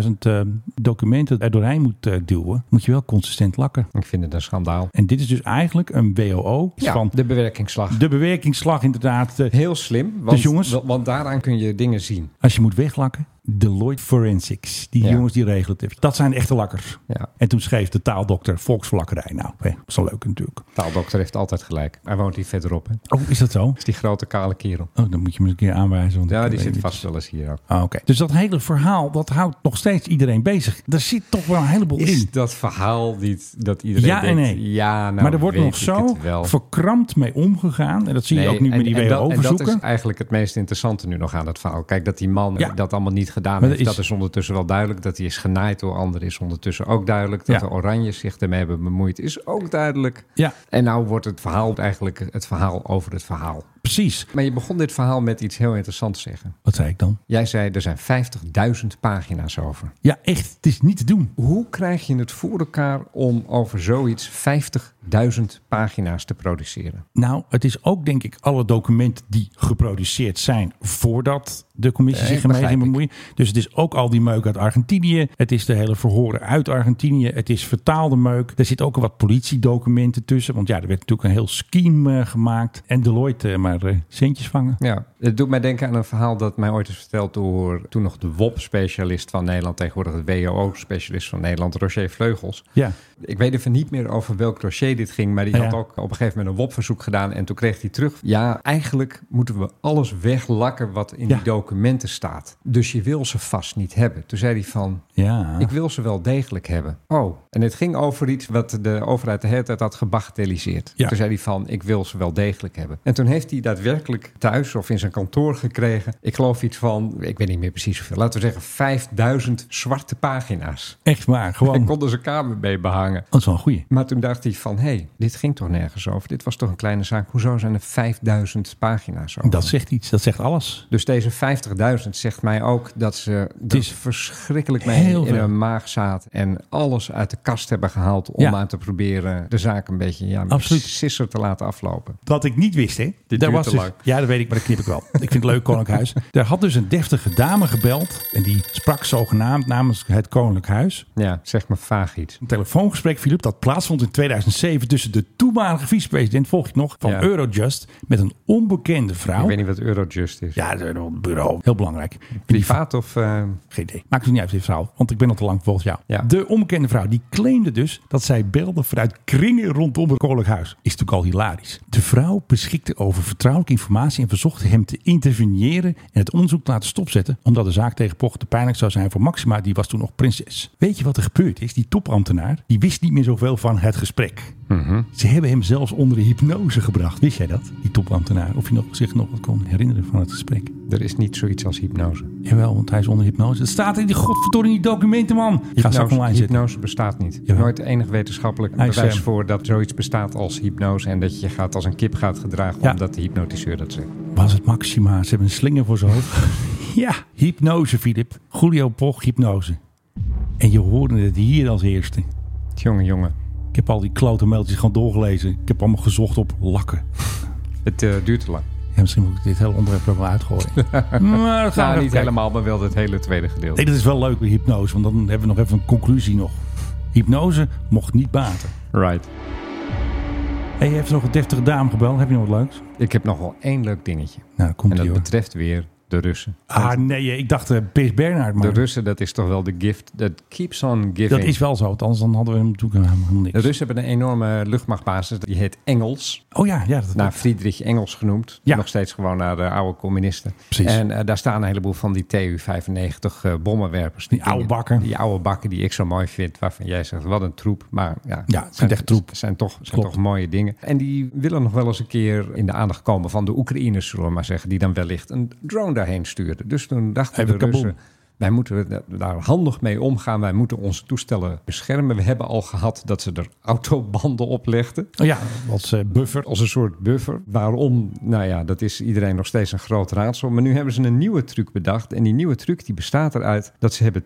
Speaker 6: 50.000 eh, documenten er doorheen moet eh, duwen, moet je wel consistent lakken.
Speaker 7: Ik vind het een schandaal.
Speaker 6: En dit is dus eigenlijk een WOO
Speaker 7: Ja,
Speaker 6: van
Speaker 7: de bewerkingsslag.
Speaker 6: de bewerkingsslag inderdaad. eh,
Speaker 7: Heel slim. Want,
Speaker 6: Dus jongens-
Speaker 7: wa- want daaraan kun je dingen zien.
Speaker 6: Als je moet weglakken, Deloitte Forensics. Die
Speaker 7: Ja.
Speaker 6: jongens die regelen het. even. Dat zijn de echte lakkers.
Speaker 7: Ja.
Speaker 6: En toen schreef de taaldokter volksvlakkerij. Nou, hè, dat is wel leuk natuurlijk.
Speaker 7: Taaldokter heeft altijd gelijk. Hij woont hier verderop. Hè?
Speaker 6: Oh, is dat zo?
Speaker 7: Is die grote kale kerel.
Speaker 6: Oh, dan moet je me eens een keer aanwijzen. Want
Speaker 7: Ja,
Speaker 6: ik eh,
Speaker 7: die
Speaker 6: weet
Speaker 7: zit
Speaker 6: niet.
Speaker 7: vast wel eens hier ook.
Speaker 6: Ah, Oké. Dus dat hele verhaal, dat houdt nog steeds iedereen bezig. Daar zit toch wel een heleboel in.
Speaker 7: Is dat verhaal niet dat iedereen
Speaker 6: Ja en
Speaker 7: denkt...
Speaker 6: nee.
Speaker 7: Ja, nou
Speaker 6: maar er wordt
Speaker 7: weet
Speaker 6: nog
Speaker 7: ik
Speaker 6: zo
Speaker 7: het wel.
Speaker 6: verkrampt mee omgegaan. En dat zie je
Speaker 7: Nee,
Speaker 6: ook nu met die
Speaker 7: en dat- en
Speaker 6: WHO-verzoeken.
Speaker 7: dat is eigenlijk het meest interessante nu nog aan het verhaal. Kijk, dat die man
Speaker 6: Ja.
Speaker 7: dat allemaal niet gedaan
Speaker 6: Maar
Speaker 7: heeft,
Speaker 6: dat is-
Speaker 7: dat is ondertussen wel duidelijk. Dat hij is genaaid door anderen is ondertussen ook duidelijk. Dat
Speaker 6: Ja.
Speaker 7: de Oranjes zich ermee hebben bemoeid is ook duidelijk.
Speaker 6: Ja.
Speaker 7: En nou wordt het verhaal eigenlijk het verhaal over het verhaal.
Speaker 6: Precies.
Speaker 7: Maar je begon dit verhaal met iets heel interessants zeggen.
Speaker 6: Wat zei ik dan?
Speaker 7: Jij zei, er zijn 50.000 pagina's over.
Speaker 6: Ja, echt. Het is niet te doen.
Speaker 7: Hoe krijg je het voor elkaar om over zoiets 50.000 duizend pagina's te produceren.
Speaker 6: Nou, het is ook denk ik alle documenten die geproduceerd zijn voordat de commissie
Speaker 7: Nee,
Speaker 6: zich ermee ging
Speaker 7: Eh, begrijp
Speaker 6: bemoeien. Dus het is ook al die meuk uit Argentinië. Het is de hele verhoren uit Argentinië. Het is vertaalde meuk. Er zit ook wat politiedocumenten tussen. Want ja, er werd natuurlijk een heel scheme eh, gemaakt. En Deloitte eh, maar eh, centjes vangen.
Speaker 7: Ja, het doet mij denken aan een verhaal dat mij ooit is verteld door toen nog de WOP-specialist van Nederland, tegenwoordig de WOO-specialist van Nederland, Roger Vleugels.
Speaker 6: Ja.
Speaker 7: Ik weet even niet meer over welk dossier dit ging, maar die
Speaker 6: Ja.
Speaker 7: had ook op een gegeven moment een WOP-verzoek gedaan en toen kreeg hij terug. Ja, eigenlijk moeten we alles weglakken wat in die documenten staat. Dus je wil ze vast niet hebben. Toen zei hij van,
Speaker 6: Ja.
Speaker 7: ik wil ze wel degelijk hebben. Oh, en het ging over iets wat de overheid de hele tijd had gebagatelliseerd.
Speaker 6: Ja.
Speaker 7: Toen zei hij van, ik wil ze wel degelijk hebben. En toen heeft hij daadwerkelijk thuis of in zijn kantoor gekregen... ik geloof iets van, ik weet niet meer precies hoeveel... laten we zeggen 5000 zwarte pagina's.
Speaker 6: Echt waar, gewoon.
Speaker 7: Hij kon er zijn kamer mee behangen.
Speaker 6: Dat is wel een goeie.
Speaker 7: Maar toen dacht hij van, hé, hey, dit ging toch nergens over? Dit was toch een kleine zaak? Hoezo zijn er 5000 pagina's over?
Speaker 6: Dat zegt iets, dat zegt alles.
Speaker 7: Dus deze 50.000 zegt mij ook dat ze er
Speaker 6: is
Speaker 7: verschrikkelijk mee
Speaker 6: heel
Speaker 7: in
Speaker 6: veel.
Speaker 7: hun maag zaten. En alles uit de kast hebben gehaald om
Speaker 6: Ja.
Speaker 7: aan te proberen de zaak een beetje ja, met
Speaker 6: Absoluut.
Speaker 7: sisser te laten aflopen.
Speaker 6: Wat ik niet wist, hè?
Speaker 7: Dit
Speaker 6: Daar
Speaker 7: duurt te
Speaker 6: dus-
Speaker 7: lang.
Speaker 6: Ja, dat weet ik, maar dat knip ik wel. ik vind het leuk, Koninklijk Huis. Daar had dus een deftige dame gebeld. En die sprak zogenaamd namens het Koninklijk Huis.
Speaker 7: Ja, zeg maar vaag iets.
Speaker 6: Een telefoongesprek, Filip, dat plaatsvond in 2007 tussen de toenmalige vicepresident, volg je het nog, van
Speaker 7: Ja.
Speaker 6: Eurojust. Met een onbekende vrouw.
Speaker 7: Ik weet niet wat Eurojust is.
Speaker 6: Oh. Ja, een bureau. Heel belangrijk.
Speaker 7: Privaat of... eh,
Speaker 6: Geen idee. Maakt het niet uit, dit verhaal. Want ik ben al te lang volgens jou. De onbekende vrouw, die claimde dus dat zij belde vanuit kringen rondom het koninklijk huis. Is natuurlijk al hilarisch. De vrouw beschikte over vertrouwelijke informatie en verzocht hem te interveneren en het onderzoek te laten stopzetten. Omdat de zaak tegen Poch te pijnlijk zou zijn voor Maxima, die was toen nog prinses. Weet je wat er gebeurd is? Die topambtenaar, die wist niet meer zoveel van het gesprek. Ze hebben hem zelfs onder de hypnose gebracht. Wist jij dat? Die topambtenaar. Of je nog, zich nog wat kon herinneren van het gesprek.
Speaker 7: Er is niet zoiets als hypnose.
Speaker 6: Jawel, want hij is onder hypnose. Het staat in die godverdorie documenten, man. Ik ga
Speaker 7: Hypnose,
Speaker 6: straks online zitten.
Speaker 7: hypnose bestaat niet.
Speaker 6: Jawel.
Speaker 7: Nooit enig wetenschappelijk
Speaker 6: Hij is,
Speaker 7: bewijs
Speaker 6: eh,
Speaker 7: voor dat zoiets bestaat als hypnose. En dat je gaat als een kip gaat gedragen
Speaker 6: Ja.
Speaker 7: omdat de hypnotiseur dat zegt.
Speaker 6: Was het Maxima? Ze hebben een slinger voor zijn hoofd. ja, hypnose, Filip. Julio Poch, hypnose. En je hoorde het hier als eerste.
Speaker 7: Jongen, jongen.
Speaker 6: Ik heb al die klote mailtjes gewoon doorgelezen. Ik heb allemaal gezocht op lakken.
Speaker 7: Het eh, duurt te lang.
Speaker 6: Ja, misschien moet ik dit hele onderwerp er wel uitgooien. maar dat gaan we even
Speaker 7: Nou, niet
Speaker 6: kijken.
Speaker 7: helemaal, maar wel het hele tweede gedeelte.
Speaker 6: Nee, dat is wel leuk bij hypnose, want dan hebben we nog even een conclusie nog. Hypnose mocht niet baten.
Speaker 7: Right.
Speaker 6: Hey, je hebt nog een deftige dame gebeld. Heb je nog wat leuks?
Speaker 7: Ik heb nog wel één leuk dingetje.
Speaker 6: Nou, komt
Speaker 7: en dat
Speaker 6: ie, hoor.
Speaker 7: betreft weer de Russen.
Speaker 6: Ah, nee, ik dacht eh Pis Bernhard.
Speaker 7: De
Speaker 6: Maar
Speaker 7: Russen, dat is toch wel de gift that keeps on giving.
Speaker 6: dat is wel zo, want anders dan hadden we hem natuurlijk eh, helemaal niks.
Speaker 7: De Russen hebben een enorme luchtmachtbasis. Die heet Engels.
Speaker 6: Oh ja, ja dat
Speaker 7: Naar Friedrich Engels genoemd.
Speaker 6: Ja.
Speaker 7: Nog steeds gewoon naar de oude communisten.
Speaker 6: Precies.
Speaker 7: En eh, daar staan een heleboel van die TU-95 eh, bommenwerpers.
Speaker 6: Die oude
Speaker 7: dingen-
Speaker 6: bakken.
Speaker 7: Die oude bakken die ik zo mooi vind. Waarvan jij zegt, wat een troep. Maar ja,
Speaker 6: Ja, het zijn echt troep.
Speaker 7: Zijn toch, zijn
Speaker 6: Klopt.
Speaker 7: toch mooie dingen. En die willen nog wel eens een keer in de aandacht komen van de Oekraïners, zullen we maar zeggen. Die dan wellicht een drone daarheen stuurden. Dus toen dachten
Speaker 6: Even
Speaker 7: de
Speaker 6: kaboom.
Speaker 7: Russen... Wij moeten da- daar handig mee omgaan. Wij moeten onze toestellen beschermen. We hebben al gehad dat ze er autobanden op legden
Speaker 6: Oh ja, als eh, buffer.
Speaker 7: als een soort buffer. Waarom? Nou ja, dat is iedereen nog steeds een groot raadsel. Maar nu hebben ze een nieuwe truc bedacht. En die nieuwe truc die bestaat eruit dat ze hebben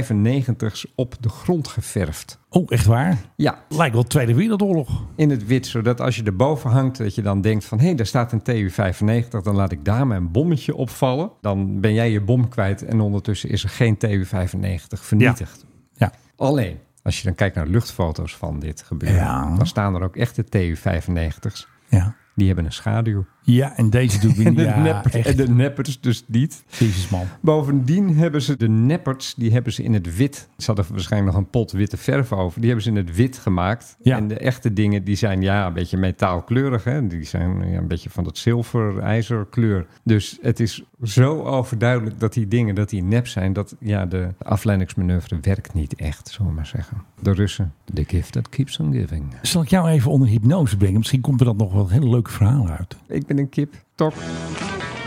Speaker 7: TU-95's op de grond geverfd.
Speaker 6: Oh, echt waar?
Speaker 7: Ja,
Speaker 6: Lijkt wel Tweede Wereldoorlog.
Speaker 7: in het wit, zodat als je erboven hangt, dat je dan denkt van... hé, daar staat een TU-95, dan laat ik daar mijn bommetje opvallen. Dan ben jij je bom kwijt en ondertussen is er geen TU-95 vernietigd.
Speaker 6: Ja.
Speaker 7: Alleen, als je dan kijkt naar luchtfoto's van dit gebeuren...
Speaker 6: Ja.
Speaker 7: dan staan er ook echte TU-95's.
Speaker 6: Ja.
Speaker 7: Die hebben een schaduw.
Speaker 6: Ja, en deze doet weer
Speaker 7: En
Speaker 6: niet.
Speaker 7: de,
Speaker 6: Ja,
Speaker 7: neppers, en
Speaker 6: echt.
Speaker 7: de neppers dus niet.
Speaker 6: Jezus, man.
Speaker 7: Bovendien hebben ze de neppers, die hebben ze in het wit. Ze hadden waarschijnlijk nog een pot witte verf over. Die hebben ze in het wit gemaakt.
Speaker 6: Ja.
Speaker 7: En de echte dingen, die zijn ja, een beetje metaalkleurig. Hè? Die zijn ja, een beetje van dat zilver, ijzerkleur. Dus het is zo overduidelijk dat die dingen, dat die nep zijn... dat ja, de afleidingsmanoeuvre werkt niet echt, zullen we maar zeggen. De Russen, the gift that keeps on giving.
Speaker 6: Zal ik jou even onder hypnose brengen? Misschien komt er dan nog wel een hele leuke verhaal uit.
Speaker 7: Ik ben een kip, toch?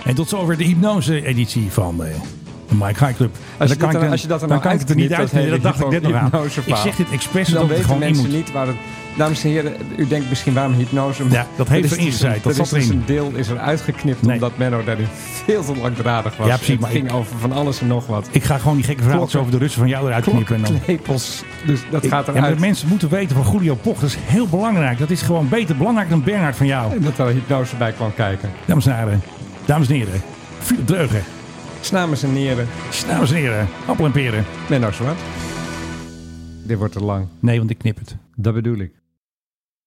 Speaker 6: En tot zover de hypnose-editie van eh, De Mike High Club.
Speaker 7: Als je,
Speaker 6: dan kan ik
Speaker 7: dat dan,
Speaker 6: dan-
Speaker 7: als je dat er
Speaker 6: dan
Speaker 7: nou
Speaker 6: kan ik het er niet
Speaker 7: uitknipt,
Speaker 6: uit.
Speaker 7: dat
Speaker 6: Nee, dat
Speaker 7: hele
Speaker 6: dacht ik net nog aan. Ik
Speaker 7: hypnoseverhaal.
Speaker 6: zeg dit expres
Speaker 7: Dan
Speaker 6: omdat het
Speaker 7: weten
Speaker 6: gewoon in
Speaker 7: mensen
Speaker 6: moet.
Speaker 7: niet waar het... Dames en heren, u denkt misschien waarom hypnose... maar
Speaker 6: Ja, dat heeft
Speaker 7: is
Speaker 6: erin
Speaker 7: dus-
Speaker 6: gezaaid, dat
Speaker 7: is
Speaker 6: zat
Speaker 7: dus
Speaker 6: erin.
Speaker 7: een deel is er uitgeknipt omdat Menno daarin veel te langdradig was.
Speaker 6: Ja, precies,
Speaker 7: Het
Speaker 6: maar
Speaker 7: ging
Speaker 6: ik-
Speaker 7: over van alles en nog wat.
Speaker 6: Ik ga gewoon die gekke verhaaltjes
Speaker 7: Klokken.
Speaker 6: over de Russen van jou eruit knippen. En dan...
Speaker 7: Klepels, dus dat
Speaker 6: Ik-
Speaker 7: gaat
Speaker 6: ja, maar
Speaker 7: eruit.
Speaker 6: mensen moeten weten van Julio Poch. Dat is heel belangrijk. Dat is gewoon beter belangrijk dan Bernhard van jou.
Speaker 7: En dat er hypnose bij kwam kijken.
Speaker 6: Dames en heren. Dames en heren. Philip Dreugen.
Speaker 7: Snames en heren.
Speaker 6: Dames en heren. Appel en peren.
Speaker 7: Menno Zwart. Dit wordt te lang.
Speaker 6: Nee, want ik knip het.
Speaker 7: Dat bedoel ik.